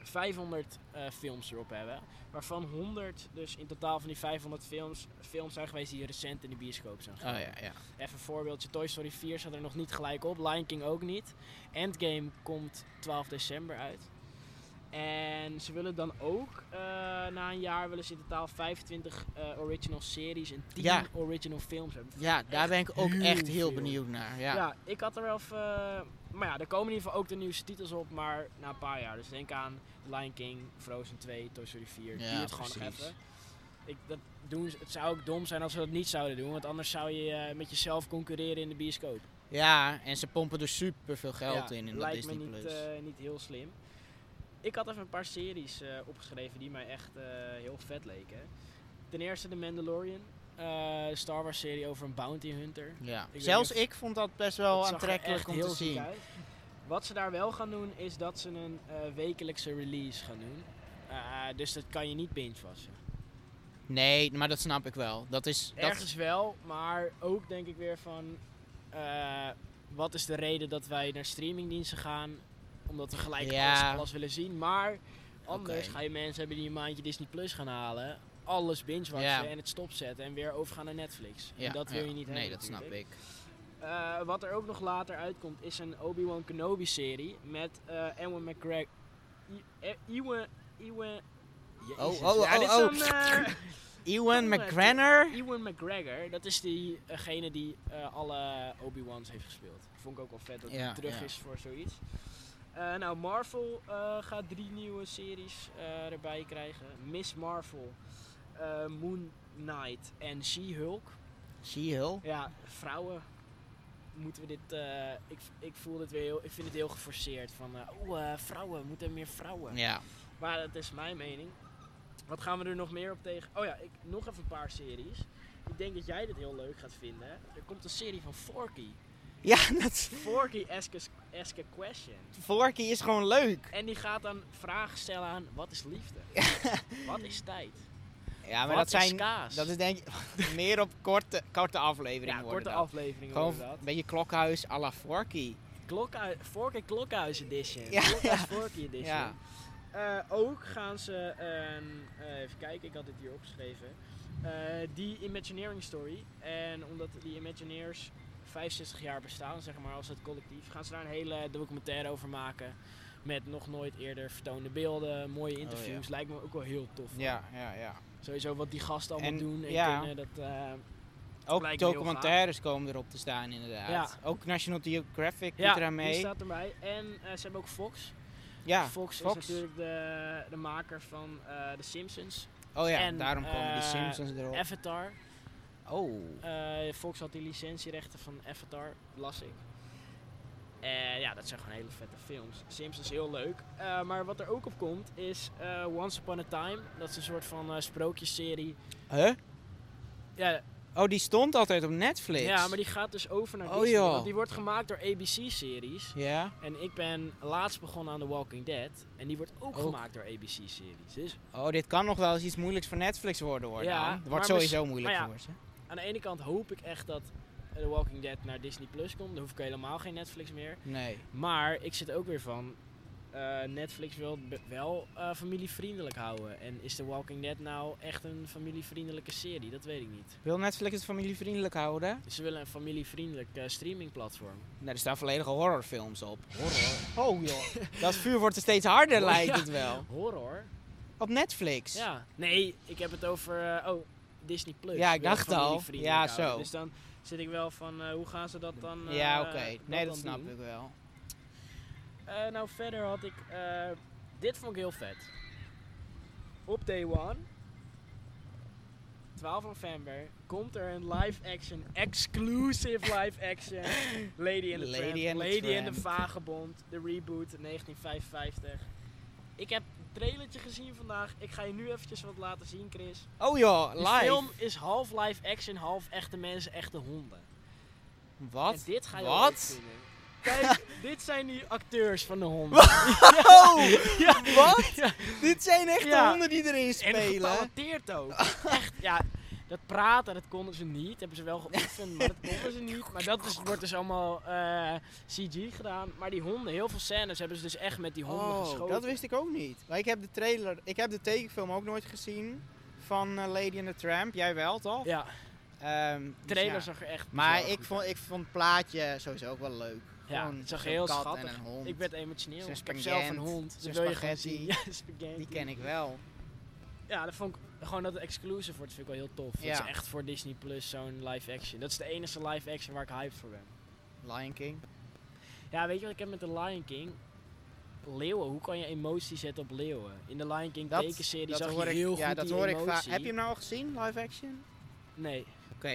500 eh, films erop hebben. Waarvan 100, dus in totaal van die 500 films, films zijn geweest die recent in de bioscoop zijn
Oh
gegaan.
ja, ja.
Even een voorbeeldje, Toy Story 4 zat er nog niet gelijk op, Lion King ook niet. Endgame komt 12 december uit. En ze willen dan ook, eh, na een jaar willen ze in totaal 25 eh, original series en 10
Ja.
original films hebben.
Ja, daar ben ik ook
heel
echt heel
veel.
benieuwd naar. Ja.
Ja. ik had er wel. even, eh, maar ja, er komen in ieder geval ook de nieuwste titels op, maar na een paar jaar. Dus denk aan Lion King, Frozen 2, Toy Story 4.
Ja,
duurt gewoon nog
precies.
even. Ik, dat doen, ze- het zou ook dom zijn als ze dat niet zouden doen, want anders zou je eh, met jezelf concurreren in de bioscoop.
Ja, en ze pompen er super veel geld
Ja,
in in dat
lijkt
Disney
me niet,
Plus.
eh, niet heel slim. Ik had even een paar series eh, opgeschreven die mij echt eh, heel vet leken. Ten eerste The Mandalorian, eh, de Star Wars serie over een bounty hunter.
ja.
weet
Zelfs
niet of-
ik vond dat best
Dat
wel
zag er
aantrekkelijk
echt
om
heel
te
ziek
zien.
uit. Wat ze daar wel gaan doen is dat ze een eh, wekelijkse release gaan doen. Eh, dus dat kan je niet binge-wassen.
Nee, maar dat snap ik wel. Dat is, dat,
Ergens wel, maar ook denk ik weer van... eh, wat is de reden dat wij naar streamingdiensten gaan? Omdat we gelijk
Ja.
alles, alles willen zien. Maar anders
Oké.
ga je mensen hebben die een maandje Disney Plus gaan halen. Alles binge-watchen
Ja.
en het stopzetten en weer overgaan naar Netflix.
ja,
en dat wil
ja.
je niet hebben
Nee, dat snap
natuurlijk.
ik.
Eh, wat er ook nog later uitkomt is een Obi-Wan Kenobi serie met eh Ewan McGregor. E- Ewan. Ewan. Jezus.
oh,
Ja,
oh,
dit is
oh.
een, eh,
Ewan
Jongen,
McGregor.
Ewan McGregor, dat is diegene die eh, alle Obi-Wans heeft gespeeld. Vond ik ook wel vet dat hij
Ja,
terug
ja.
is voor zoiets. Eh, nou, Marvel eh, gaat drie nieuwe series eh, erbij krijgen. Miss Marvel, eh, Moon Knight en She-Hulk.
She-Hulk.
Ja, vrouwen. Moeten we dit... eh, ik, ik voel dit weer heel... Ik vind het heel geforceerd. Van, eh oh, eh, vrouwen. Moeten meer vrouwen.
Ja.
Maar dat is mijn mening. Wat gaan we er nog meer op tegen? Oh ja, ik, nog even een paar series. Ik denk dat jij dit heel leuk gaat vinden. Er komt een serie van Forky.
Ja, dat...
Forky Ask a, ask a Question.
Forky is gewoon leuk.
En die gaat dan vragen stellen aan wat is liefde? wat is tijd?
Ja, maar
wat
dat
is
zijn...
kaas?
Dat is denk ik meer op korte, korte afleveringen
ja,
worden
korte
dat.
afleveringen
Gewoon
worden dat.
een beetje klokhuis à la Forky.
Klokhui Forky Klokhuis Edition.
Ja,
Klokhuis
ja.
Forky Edition.
Ja.
Eh, ook gaan ze, een, eh, even kijken, ik had dit hier opgeschreven, Eh, die Imagineering Story. En omdat die Imagineers 65 jaar bestaan, zeg maar, als het collectief, gaan ze daar een hele documentaire over maken. Met nog nooit eerder vertoonde beelden, mooie interviews.
Oh,
Lijkt me ook wel heel tof.
Ja, ja, ja.
Sowieso wat die gasten allemaal
En,
doen en
ja.
kunnen. Dat, eh,
Ook
Lijkt me heel
documentaires komen erop te staan inderdaad.
Ja.
Ook National Geographic doet
ja,
eraan mee.
die staat erbij. En eh, ze hebben ook Fox.
ja.
Fox,
Fox.
is natuurlijk de, de maker van eh The Simpsons,
Oh ja,
en,
daarom komen
eh,
die Simpsons erop.
Avatar.
oh.
Eh, Fox had die licentierechten van Avatar, las ik. Eh, ja, dat zijn gewoon hele vette films. Sims is heel leuk. Eh, maar wat er ook op komt is eh, Once Upon a Time. Dat is een soort van eh, sprookjesserie.
Huh?
Ja,
Oh, die stond altijd op Netflix.
ja, maar die gaat dus over naar
Oh,
Disney.
joh.
want die wordt gemaakt door ABC-series.
Ja?
En ik ben laatst begonnen aan The Walking Dead. En die wordt ook,
Ook.
gemaakt door ABC-series. Dus
Oh, dit kan nog wel eens iets moeilijks voor Netflix worden hoor.
Ja,
dan. Het
maar
wordt sowieso moeilijk
maar ja.
voor ze.
aan de ene kant hoop ik echt dat eh, The Walking Dead naar Disney Plus komt. Dan hoef ik helemaal geen Netflix meer.
Nee.
Maar ik zit ook weer van. eh, Netflix wil be- wel eh, familievriendelijk houden. En is The Walking Dead nou echt een familievriendelijke serie? Dat weet ik niet. Dus
Wil Netflix het familievriendelijk houden?
Ze willen een familievriendelijk eh, streamingplatform.
Nou, er staan volledige horrorfilms op. Horror? Oh joh. dat vuur wordt er steeds harder,
Oh, Ja.
lijkt het wel.
Horror?
Op Netflix.
Ja. Nee, ik heb het over. eh, oh, Disney Plus.
Ja, ik
wil het
dacht al.
familievriendelijk
Ja,
houden.
zo.
Dus dan zit ik wel van eh, hoe gaan ze dat dan. eh,
Ja, oké. Nee,
dan
dat snap
doen?
ik wel.
Eh, nou, verder had ik. eh, dit vond ik heel vet. Op day one, 12 november, komt er een live action, exclusive live action. Lady and the
Lady
Tramp,
and the
Lady and
Tramp.
the Vagabond, de reboot 1955. Ik heb het trailertje gezien vandaag. Ik ga je nu eventjes wat laten zien, Chris.
Oh joh,
De
live.
film is half live action, half echte mensen, echte honden. En
Wat?
dit ga je wel
Wat?
leuk vinden. Kijk, dit zijn die acteurs van de honden.
Oh!
Ja.
Wat?
Ja.
Dit zijn echt
Ja.
de honden die erin
En
spelen.
getalenteerd ook. Echt, ja. Dat praten, dat konden ze niet. Hebben ze wel geoefend, maar dat konden ze niet. Maar dat is, wordt dus allemaal eh, CG gedaan. Maar die honden, heel veel scènes hebben ze dus echt met die honden
Oh,
geschoten.
dat wist ik ook niet. Maar ik heb de trailer, ik heb de tekenfilm ook nooit gezien van eh, Lady and the Tramp. Jij wel, toch?
Ja,
Ehm, dus
de trailer
ja.
zag er echt
Maar
bizar
ik
goed
vond,
uit.
ik vond het plaatje sowieso ook wel leuk.
Ja,
gewoon
het zag
zo'n
heel
kat en
schattig.
een hond.
Ik werd emotioneel.
Zo'n
Ik heb zelf een
spaghetti,
hond.
zo'n
Dat wil je gewoon
spaghetti.
zien. Ja, spaghetti.
Die ken ik wel.
Ja, dat vond ik gewoon dat het exclusive wordt, vind ik wel heel tof. Dat
Ja.
is echt voor Disney Plus zo'n live action. Dat is de enige live action waar ik hyped voor ben.
Lion King.
Ja, weet je wat ik heb met The Lion King? Leeuwen, hoe kan je emotie zetten op leeuwen? In de Lion King
Dat-
tekenserie
dat
zag
hoor
je
ik,
heel
ja,
goed
dat
die
hoor ik
emotie.
vaak. Heb je hem nou al gezien, live action?
Nee.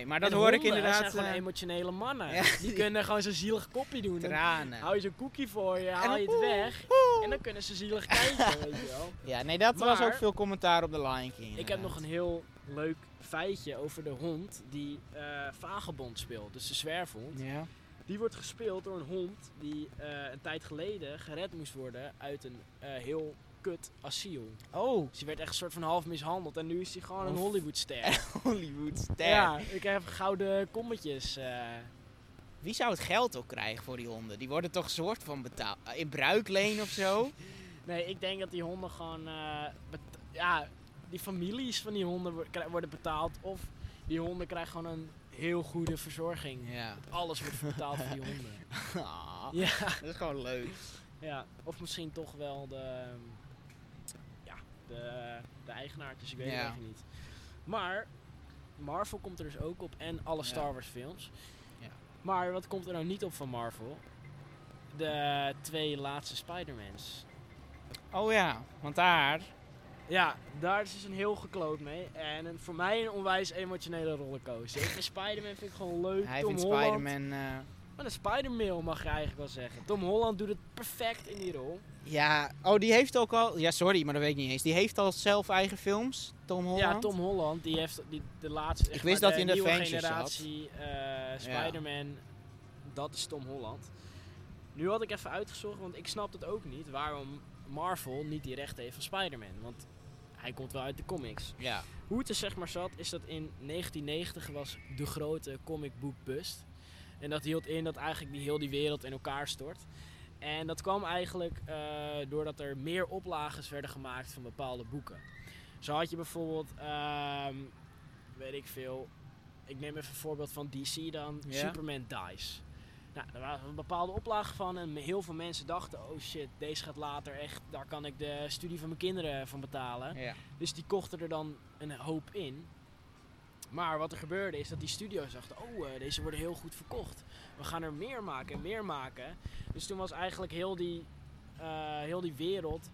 maar
En
dat hoor ik
honden, dat
inderdaad.
zijn gewoon
eh,
emotionele mannen.
ja,
Die
die-
kunnen gewoon zo'n zielig kopje doen. Dan
tranen.
hou je zo'n koekie voor je, haal je
dan
het
oeh,
weg.
oeh.
En dan kunnen ze zielig kijken, weet je wel.
Ja, nee, dat was
Maar-
ook veel commentaar op de Lion
Ik heb
King. inderdaad.
nog een heel leuk feitje over de hond die eh, Vagebond speelt. Dus de zwerfhond.
Ja.
Die wordt gespeeld door een hond die eh, een tijd geleden gered moest worden uit een eh, heel kut asiel.
Oh,
Dus die werd echt een soort van half mishandeld en nu is hij gewoon een
Of-
Hollywoodster.
Hollywoodster.
ja, ik heb gouden kommetjes. eh.
Wie zou het geld ook krijgen voor die honden? Die worden toch soort van betaald. In bruikleen of zo?
Nee, ik denk dat die honden gewoon. eh, bet- ja, die families van die honden wo- krij- worden betaald. Of die honden krijgen gewoon een heel goede verzorging.
ja.
Alles wordt betaald voor die honden.
Ah,
Ja,
Dat is gewoon leuk.
ja. Of misschien toch wel de. ehm, Ja, de, de eigenaartjes, ik weet het
Ja.
eigenlijk niet. Maar Marvel komt er dus ook op en alle
Ja.
Star Wars films.
Ja.
Maar wat komt er nou niet op van Marvel? De twee laatste Spider-Mans.
Oh ja, want daar.
Ja, daar is dus een heel gekloot mee. En een- voor mij een onwijs emotionele rollercoaster. Ik vind Spider-Man vind ik gewoon leuk.
Hij
Tom
vindt
Holland.
Spider-Man. eh,
Maar een Spider-Mail mag je eigenlijk wel zeggen. Tom Holland doet het perfect in die rol.
ja, oh, die heeft ook al. Ja, sorry, maar dat weet ik niet eens. Die heeft al zelf eigen films, Tom Holland.
Ja, Tom Holland, die heeft die, de laatste.
Ik wist dat hij in de
nieuwe
Avengers zat.
generatie eh, Spider-Man, dat is Tom Holland. Nu had ik even uitgezocht, want ik snap het ook niet waarom Marvel niet die rechten heeft van Spider-Man. Want hij komt wel uit de comics.
Ja.
Hoe het er zeg maar zat, is dat in 1990 was de grote comic book bust. En dat hield in dat eigenlijk die heel die wereld in elkaar stort. En dat kwam eigenlijk eh, doordat er meer oplages werden gemaakt van bepaalde boeken. Zo had je bijvoorbeeld, ehm, weet ik veel, ik neem even een voorbeeld van DC dan,
Ja.
Superman Dies. Nou, daar was een bepaalde oplage van en heel veel mensen dachten, oh shit, deze gaat later echt, daar kan ik de studie van mijn kinderen van betalen.
ja.
Dus die kochten er dan een hoop in. Maar wat er gebeurde is dat die studio's dachten: oh, eh, deze worden heel goed verkocht. We gaan er meer maken en meer maken. Dus toen was eigenlijk heel die, eh, heel die wereld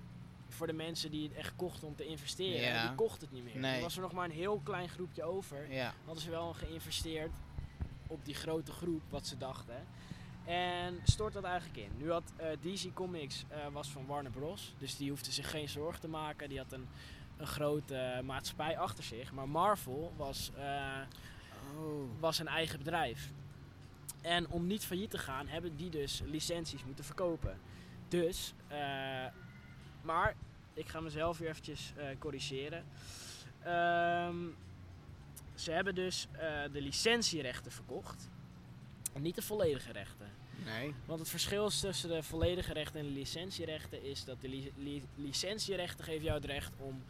voor de mensen die het echt kochten om te investeren.
Ja.
Die kocht het niet meer.
Nee.
Toen was er nog maar een heel klein groepje over.
ja.
Hadden ze wel geïnvesteerd op die grote groep, wat ze dachten. En stort dat eigenlijk in. Nu had eh, DC Comics eh, was van Warner Bros. Dus die hoefde zich geen zorgen te maken. Die had een, een grote eh, maatschappij achter zich. Maar Marvel was, eh,
Oh.
was een eigen bedrijf. En om niet failliet te gaan, hebben die dus licenties moeten verkopen. Dus, eh, maar ik ga mezelf weer eventjes eh, corrigeren. Ehm, ze hebben dus eh, de licentierechten verkocht. En niet de volledige rechten.
Nee.
Want het verschil is tussen de volledige rechten en de licentierechten is dat de li- li- licentierechten geven jou het recht om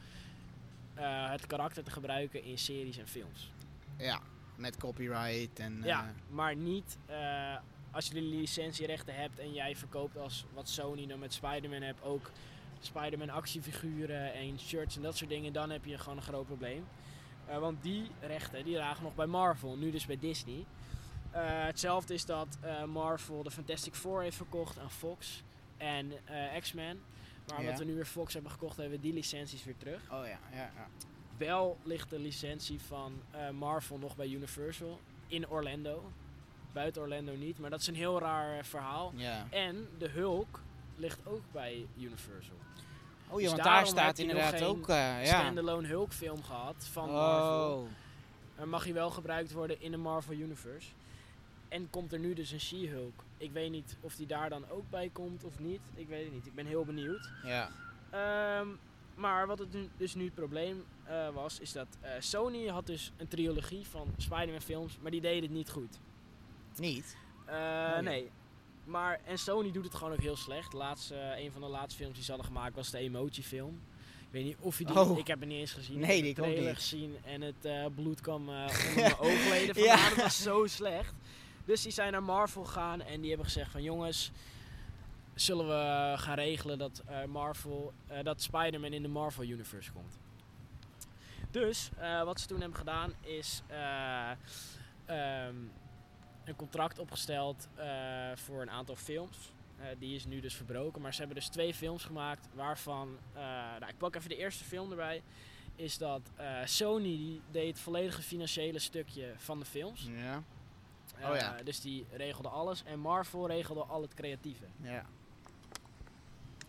eh, het karakter te gebruiken in series en films.
Ja. Met copyright en.
Ja,
eh,
maar niet eh, als je de licentierechten hebt en jij verkoopt als wat Sony dan met Spider-Man hebt ook Spider-Man actiefiguren en shirts en dat soort dingen, dan heb je gewoon een groot probleem. Eh, want die rechten die lagen nog bij Marvel, nu dus bij Disney. Eh, hetzelfde is dat eh, Marvel de Fantastic Four heeft verkocht aan Fox en eh, X-Men. Maar omdat
Ja.
we nu weer Fox hebben gekocht, hebben we die licenties weer terug.
Oh ja, ja, ja.
Wel ligt de licentie van eh, Marvel nog bij Universal in Orlando. Buiten Orlando niet, maar dat is een heel raar eh, verhaal.
ja.
En de Hulk ligt ook bij Universal.
Oh ja,
Dus daarom
want daar
heb
staat
je nog
inderdaad
geen
ook. eh, ja.
Standalone Hulk film gehad van Marvel.
Oh.
Maar mag hij wel gebruikt worden in de Marvel Universe. En komt er nu dus een She-Hulk. Ik weet niet of die daar dan ook bij komt of niet. Ik weet het niet. Ik ben heel benieuwd.
Ja.
Ehm, maar wat het nu, dus nu het probleem eh, was, is dat eh, Sony had dus een trilogie van Spider-Man films, maar die deden het niet goed.
Niet.
Eh, Nee. Maar, en Sony doet het gewoon ook heel slecht. Laatste, eh, een van de laatste films die ze hadden gemaakt was de Emoji film. Ik weet niet of je die...
Oh.
Ik heb het niet eens gezien.
Nee,
ik
die
heb
ik
de
ook
trailer
niet.
gezien en het eh, bloed kwam eh onder mijn oogleden van
Ja.
haar. Dat was zo slecht. Dus die zijn naar Marvel gegaan en die hebben gezegd van... Jongens, zullen we gaan regelen dat, eh, Marvel, eh, dat Spider-Man in de Marvel Universe komt. Dus eh, wat ze toen hebben gedaan is eh, ehm, een contract opgesteld eh, voor een aantal films. Eh, die is nu dus verbroken, maar ze hebben dus twee films gemaakt waarvan... eh, nou, ik pak even de eerste film erbij. is dat eh, Sony die deed het volledige financiële stukje van de films.
Ja.
Eh,
Oh ja.
Dus die regelde alles. En Marvel regelde al het creatieve.
Ja.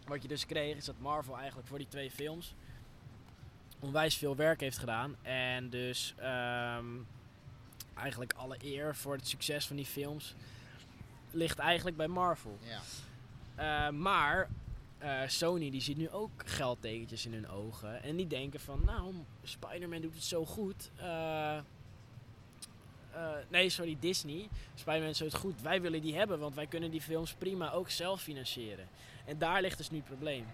Wat je dus kreeg is dat Marvel eigenlijk voor die twee films onwijs veel werk heeft gedaan. En dus ehm, eigenlijk alle eer voor het succes van die films ligt eigenlijk bij Marvel.
Ja.
Eh, maar eh, Sony die ziet nu ook geldtekentjes in hun ogen. En die denken van, nou, Spider-Man doet het zo goed. Eh, eh, nee, sorry, Disney. Spider-Man doet het goed. Wij willen die hebben, want wij kunnen die films prima ook zelf financieren. En daar ligt dus nu het probleem.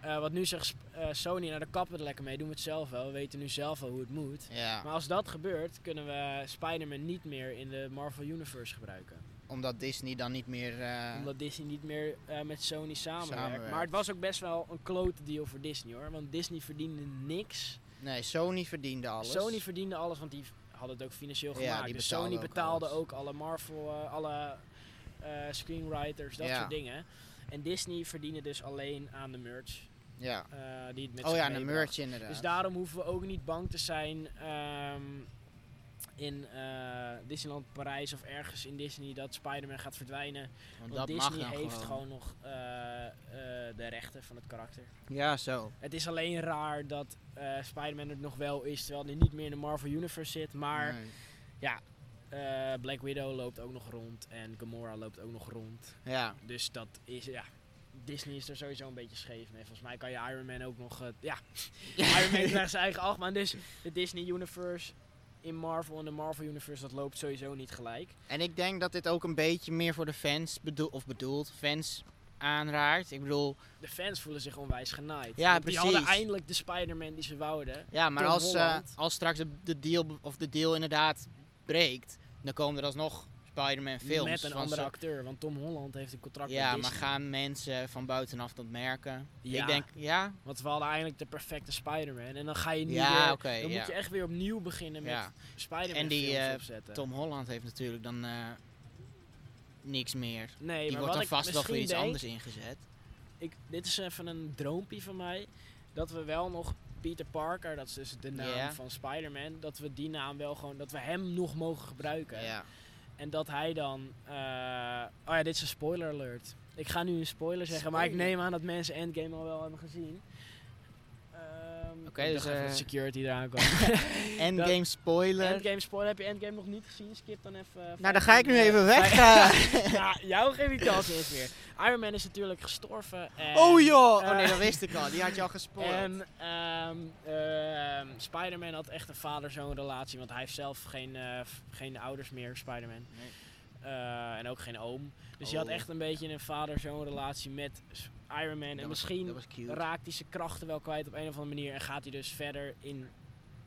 Eh wat nu zegt Sp- eh, Sony, nou daar kappen we er lekker mee, doen we het zelf wel. We weten nu zelf wel hoe het moet. Maar
ja.
als dat gebeurt, kunnen we Spider-Man niet meer in de Marvel Universe gebruiken
Omdat Disney dan niet meer. eh,
omdat Disney niet meer eh, met Sony samenwerkt.
Samenwerkt.
Maar het was ook best wel een klote deal voor Disney hoor. Want Disney verdiende niks.
Nee, Sony verdiende alles.
Sony verdiende alles, want die had het ook financieel
Ja,
gemaakt.
die
dus
betaalde
Sony
ook
betaalde
alles.
ook alle Marvel, eh, alle eh, screenwriters, dat
Ja.
soort dingen. En Disney verdiende dus alleen aan de merch
Ja.
eh, die het met
Oh
zich
ja, een
meebracht.
merch inderdaad.
Dus daarom hoeven we ook niet bang te zijn ehm, in eh, Disneyland Parijs of ergens in Disney dat Spider-Man gaat verdwijnen.
Want
Want
dat
Disney
mag dan
heeft
gewoon.
gewoon, nog eh, eh, de rechten van het karakter.
Ja, zo.
Het is alleen raar dat eh Spider-Man er nog wel is, terwijl hij niet meer in de Marvel Universe zit. Maar
Nee.
eh, Black Widow loopt ook nog rond en Gamora loopt ook nog rond.
Ja.
Dus dat is, ja... Disney is er sowieso een beetje scheef mee. Volgens mij kan je Iron Man ook nog... eh, ja, Iron Man krijgt zijn eigen achtbaan. Dus de Disney Universe in Marvel en de Marvel Universe, dat loopt sowieso niet gelijk.
En ik denk dat dit ook een beetje meer voor de fans bedoel of bedoeld fans aanraakt. Ik bedoel,
De fans voelen zich onwijs genaaid.
Ja,
Want Die hadden
precies.
eindelijk de Spider-Man die ze wouden.
ja, maar
Tom
als, eh,
Holland.
als straks de, de deal be- of de deal inderdaad breekt, dan komen er alsnog Spider-Man films.
Met een
van
andere
zo-
acteur, want Tom Holland heeft een contract
Ja,
met
maar
Disney.
gaan mensen van buitenaf dat merken?
Ja,
Ik denk, ja,
want we hadden eigenlijk de perfecte Spider-Man. En dan ga je nu
Ja,
weer...
oké,
eh, dan
ja.
moet je echt weer opnieuw beginnen met
Ja.
Spider-Man
En die,
films
eh,
opzetten.
Tom Holland heeft natuurlijk dan eh, niks meer.
nee,
Die
maar
wordt
wat
dan
ik
vast wel
misschien
voor iets
denk,
anders ingezet.
Ik, dit is even een droompje van mij. Dat we wel nog Peter Parker, dat is dus de naam
Ja.
van Spider-Man. Dat we die naam wel gewoon... Dat we hem nog mogen gebruiken.
Ja.
En dat hij dan... eh, oh ja, dit is een spoiler alert. Ik ga nu een spoiler zeggen, maar ik
Spoiler.
neem aan dat mensen Endgame al wel hebben gezien. Ehm,
Oké,
ik
dus,
dacht even
eh,
dat security eraan kwam.
Endgame spoiler.
Endgame spoiler, heb je Endgame nog niet gezien? Skip dan even. eh,
Nou, dan ga ik nu even weg.
vijftien-
eh.
ja, jou geef ik kans eens meer. Iron Man is natuurlijk gestorven. En,
oh joh!
eh,
oh nee, dat wist ik al. Die had je al gespoord.
En ehm, ehm, Spider-Man had echt een vader-zoon relatie, want hij heeft zelf geen, eh, v- geen ouders meer, Spider-Man.
Nee.
Eh, en ook geen oom. Dus hij had
Oh.
echt een beetje een vader-zoon relatie met s- Iron Man. en misschien
was cute.
raakt hij zijn krachten wel kwijt op een of andere manier. En gaat hij dus verder in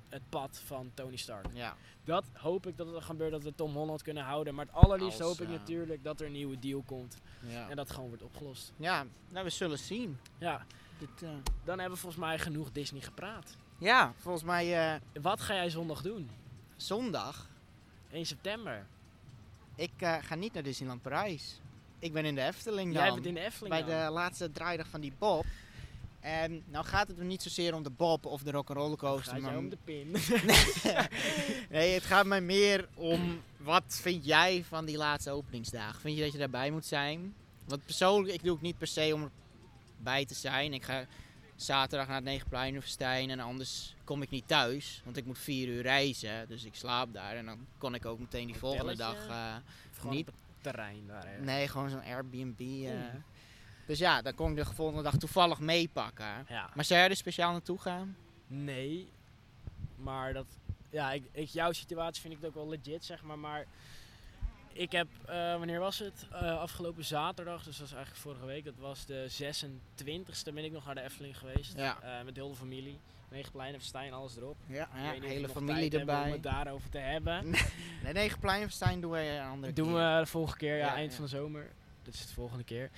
het pad van Tony Stark.
Ja.
Dat hoop ik dat het gebeurt, dat we Tom Holland kunnen houden. Maar het allerliefst
Als,
hoop ik
eh,
natuurlijk dat er een nieuwe deal komt.
Ja.
En dat gewoon wordt opgelost.
ja, nou we zullen zien.
Ja,
Dit, eh,
dan hebben we volgens mij genoeg Disney gepraat.
ja, volgens mij eh,
Wat ga jij zondag doen?
zondag.
1 september.
Ik eh, ga niet naar Disneyland Parijs. Ik ben in de Efteling dan.
Jij bent in de Efteling
bij
dan.
de laatste draaidag van die Bob. En nou gaat het me niet zozeer om de Bob of de Rock'n'Roller
Gaat
Coaster.
jou
Maar
om de pin.
nee, het gaat mij meer om wat vind jij van die laatste openingsdag? Vind je dat je daarbij moet zijn? Want persoonlijk, ik doe het niet per se om erbij te zijn. Ik ga zaterdag naar het Negenplein of Stijn en anders kom ik niet thuis. Want ik moet vier uur reizen, dus ik slaap daar. En dan kon ik ook meteen die volgende dag...
Hotelletje?
eh,
Of gewoon
Niet-
op het terrein eh, daar. hè?
nee, gewoon zo'n Airbnb. eh.
Oeh.
Dus ja, dan kon ik de volgende dag toevallig meepakken.
Ja.
Maar zou jij er speciaal naartoe gaan?
Nee. Maar dat... Ja, ik, ik, jouw situatie vind ik ook wel legit, zeg maar. Maar ik heb... eh, wanneer was het? Eh, afgelopen zaterdag. Dus dat was eigenlijk vorige week. Dat was de 26e. Ben ik nog naar de Efteling geweest.
Ja.
Eh, met heel de familie. Negenplein, Verstein, alles erop. Ik
Ja,
weet niet of we
hele
nog
familie
tijd hebben om
erbij.
het daarover te hebben.
Nee, Negenplein of Stijn doen we een andere
Dat doen
keer.
we de volgende keer, ja,
Ja,
eind
ja.
van de zomer. Dat is de volgende keer.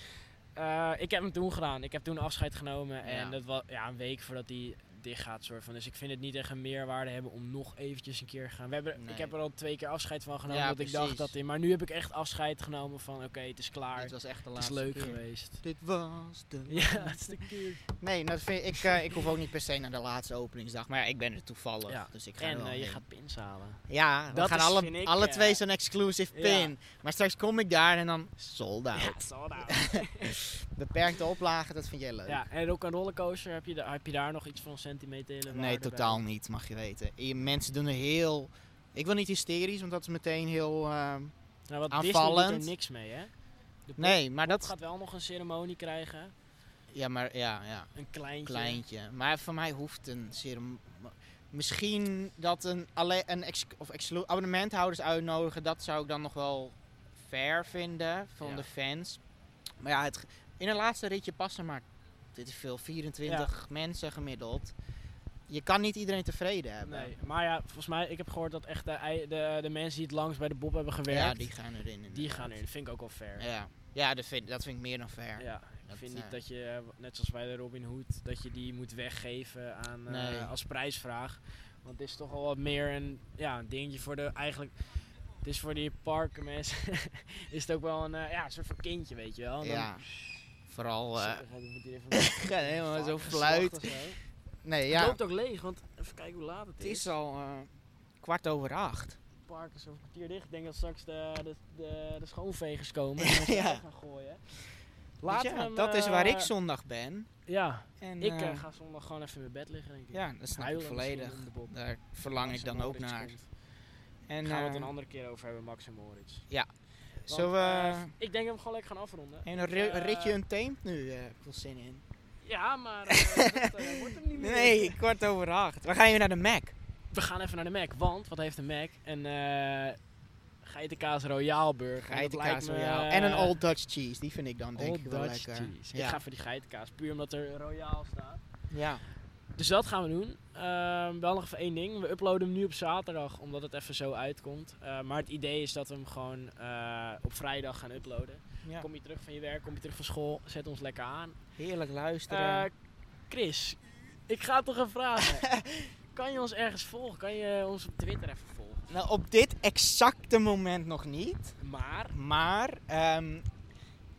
Eh, ik heb hem toen gedaan. Ik heb toen afscheid genomen. En
Ja.
dat was ja, een week voordat hij dicht gaat. Soort van. Dus ik vind het niet echt een meerwaarde hebben om nog eventjes een keer te gaan. We hebben,
Nee.
Ik heb er al twee keer afscheid van genomen.
Ja,
omdat ik dacht
precies.
dat in. Maar nu heb ik echt afscheid genomen van oké, het is klaar.
Dit was echt de
het is
laatste
leuk
keer.
geweest.
Dit was de
Ja, het is de keer.
Nee, dat vind ik, eh, ik hoef ook niet per se naar de laatste openingsdag. Maar ja, ik ben er toevallig,
Ja.
dus ik ga er
En
wel
eh, je
heen.
gaat pins halen.
Ja, we
dat
gaan
is,
alle,
vind ik,
alle
eh,
twee zo'n exclusive
ja.
pin. Maar straks kom ik daar en dan sold out.
Ja, sold out.
Beperkte oplagen, dat vind jij leuk.
ja, en ook een rollercoaster, heb je, da- heb je daar nog iets van sentimentele waarde
nee,
bij?
totaal niet, mag je weten. Je- mensen doen er heel... Ik wil niet hysterisch, want dat is meteen heel... ehm,
Nou, wat Disney
aanvallend.
doet er niks mee, hè? De
Nee, maar
pop
dat...
gaat wel nog een ceremonie krijgen.
Ja, maar ja, ja.
Een kleintje.
Kleintje. Maar voor mij hoeft een ceremonie... Misschien dat een, alle, een ex, of exclu- abonnementhouders uitnodigen, dat zou ik dan nog wel fair vinden van
Ja.
de fans. Maar ja, het, ge- in een laatste ritje passen maar, dit is veel, 24 mensen gemiddeld. Je kan niet iedereen tevreden hebben.
Nee, maar ja, volgens mij, ik heb gehoord dat echt de, ei- de, de mensen die het langs bij de Bob hebben gewerkt,
ja, die
die,
gaan erin. inderdaad.
gaan in. Vind ik ook wel fair.
Ja, ja dat, vind, dat vind ik meer dan
Ja,
fair.
ik
dat,
vind
eh,
niet dat je, eh, net zoals bij de Robin Hood, dat je die moet weggeven aan, eh,
Nee.
als prijsvraag. Want het is toch al wat meer een, ja, een dingetje voor de, eigenlijk, het is voor die parkenmensen, is het ook wel een, eh, ja, een soort van kindje, weet je wel. En dan-
Ja. Vooral.
Zo,
eh,
dan moet hij even-
ga helemaal zo
Geslacht
fluit.
of zo.
Nee,
Het
ja.
loopt ook leeg, want even kijken hoe laat het
Het
is.
is al eh, kwart over acht.
Het park is over een kwartier dicht. Ik denk dat straks de, de, de, de schoonvegers komen en ons
Ja.
weg gaan gooien.
Dus
Laten we
ja,
hem,
dat is waar
eh,
ik zondag ben.
Ja,
En,
ik
eh,
eh, ga zondag gewoon even in mijn bed liggen, denk ik.
ja, dat snap ik
Huilen
volledig.
misschien om de Bob.
Daar verlang ik
Max en
dan ook
Moritz
naar.
komt.
En
gaan we het
eh,
een andere keer over hebben, Max en Moritz. Want,
zullen we
eh, ik denk dat we gewoon lekker gaan afronden.
een ri-
eh,
ritje een teemt nu eh veel zin in?
Ja, maar eh, dat eh, wordt hem niet meer.
Nee, kwart over acht. We gaan even naar de Mac.
We gaan even naar de Mac, want wat heeft de Mac? Een eh geitenkaas royaal burger. En dat lijkt
Geitenkaas
me,
royaal. En een Old Dutch cheese, die vind ik dan denk
Old
ik wel
Dutch
lekker.
cheese.
Ja.
Oh, Ik ga voor die geitenkaas, puur omdat er royaal staat.
ja.
Dus dat gaan we doen. Ehm, wel nog even één ding. We uploaden hem nu op zaterdag, omdat het even zo uitkomt. Eh, maar het idee is dat we hem gewoon eh, op vrijdag gaan uploaden.
Ja.
Kom je terug van je werk, kom je terug van school, zet ons lekker aan.
Heerlijk luisteren.
Eh, Chris, ik ga toch een vraag. kan je ons ergens volgen? Kan je ons op Twitter even volgen?
nou, op dit exacte moment nog niet.
Maar
Maar ehm,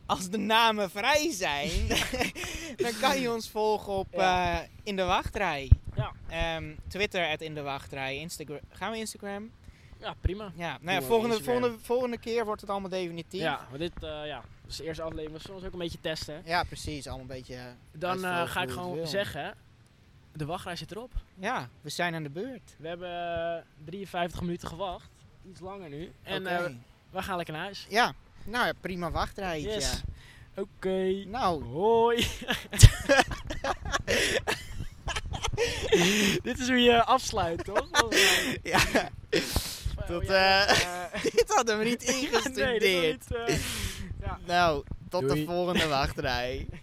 als de namen vrij zijn, dan kan je ons volgen op
Ja.
eh, In de Wachtrij.
Ja.
Ehm, Twitter, at In de Wachtrij. Instagram. Gaan we Instagram?
ja, prima.
Ja,
Doen
nou
we
ja, volgende,
Instagram.
volgende, volgende keer wordt het allemaal definitief.
Ja, want dit eh, ja, dat is de eerste aflevering. We soms ook een beetje testen.
Ja, precies. Allemaal een beetje... eh,
Dan eh,
uitvogelen
ga ik
hoe het
gewoon
wil.
zeggen, de wachtrij zit erop.
Ja, we zijn aan de beurt.
We hebben eh, 53 minuten gewacht. Iets langer nu. En eh,
Oké.
we gaan lekker naar huis.
Ja, nou ja, prima wachtrijtje.
Yes. Oké.
Nou,
Hoi. Dit is hoe je afsluit, toch? Volgens mij.
ja,
Oh,
tot,
ja,
eh,
eh,
dit hadden we niet
nee, dit was
ingestudeerd.
niet, eh, ja.
Nou, tot
Doei.
de volgende wachtrij.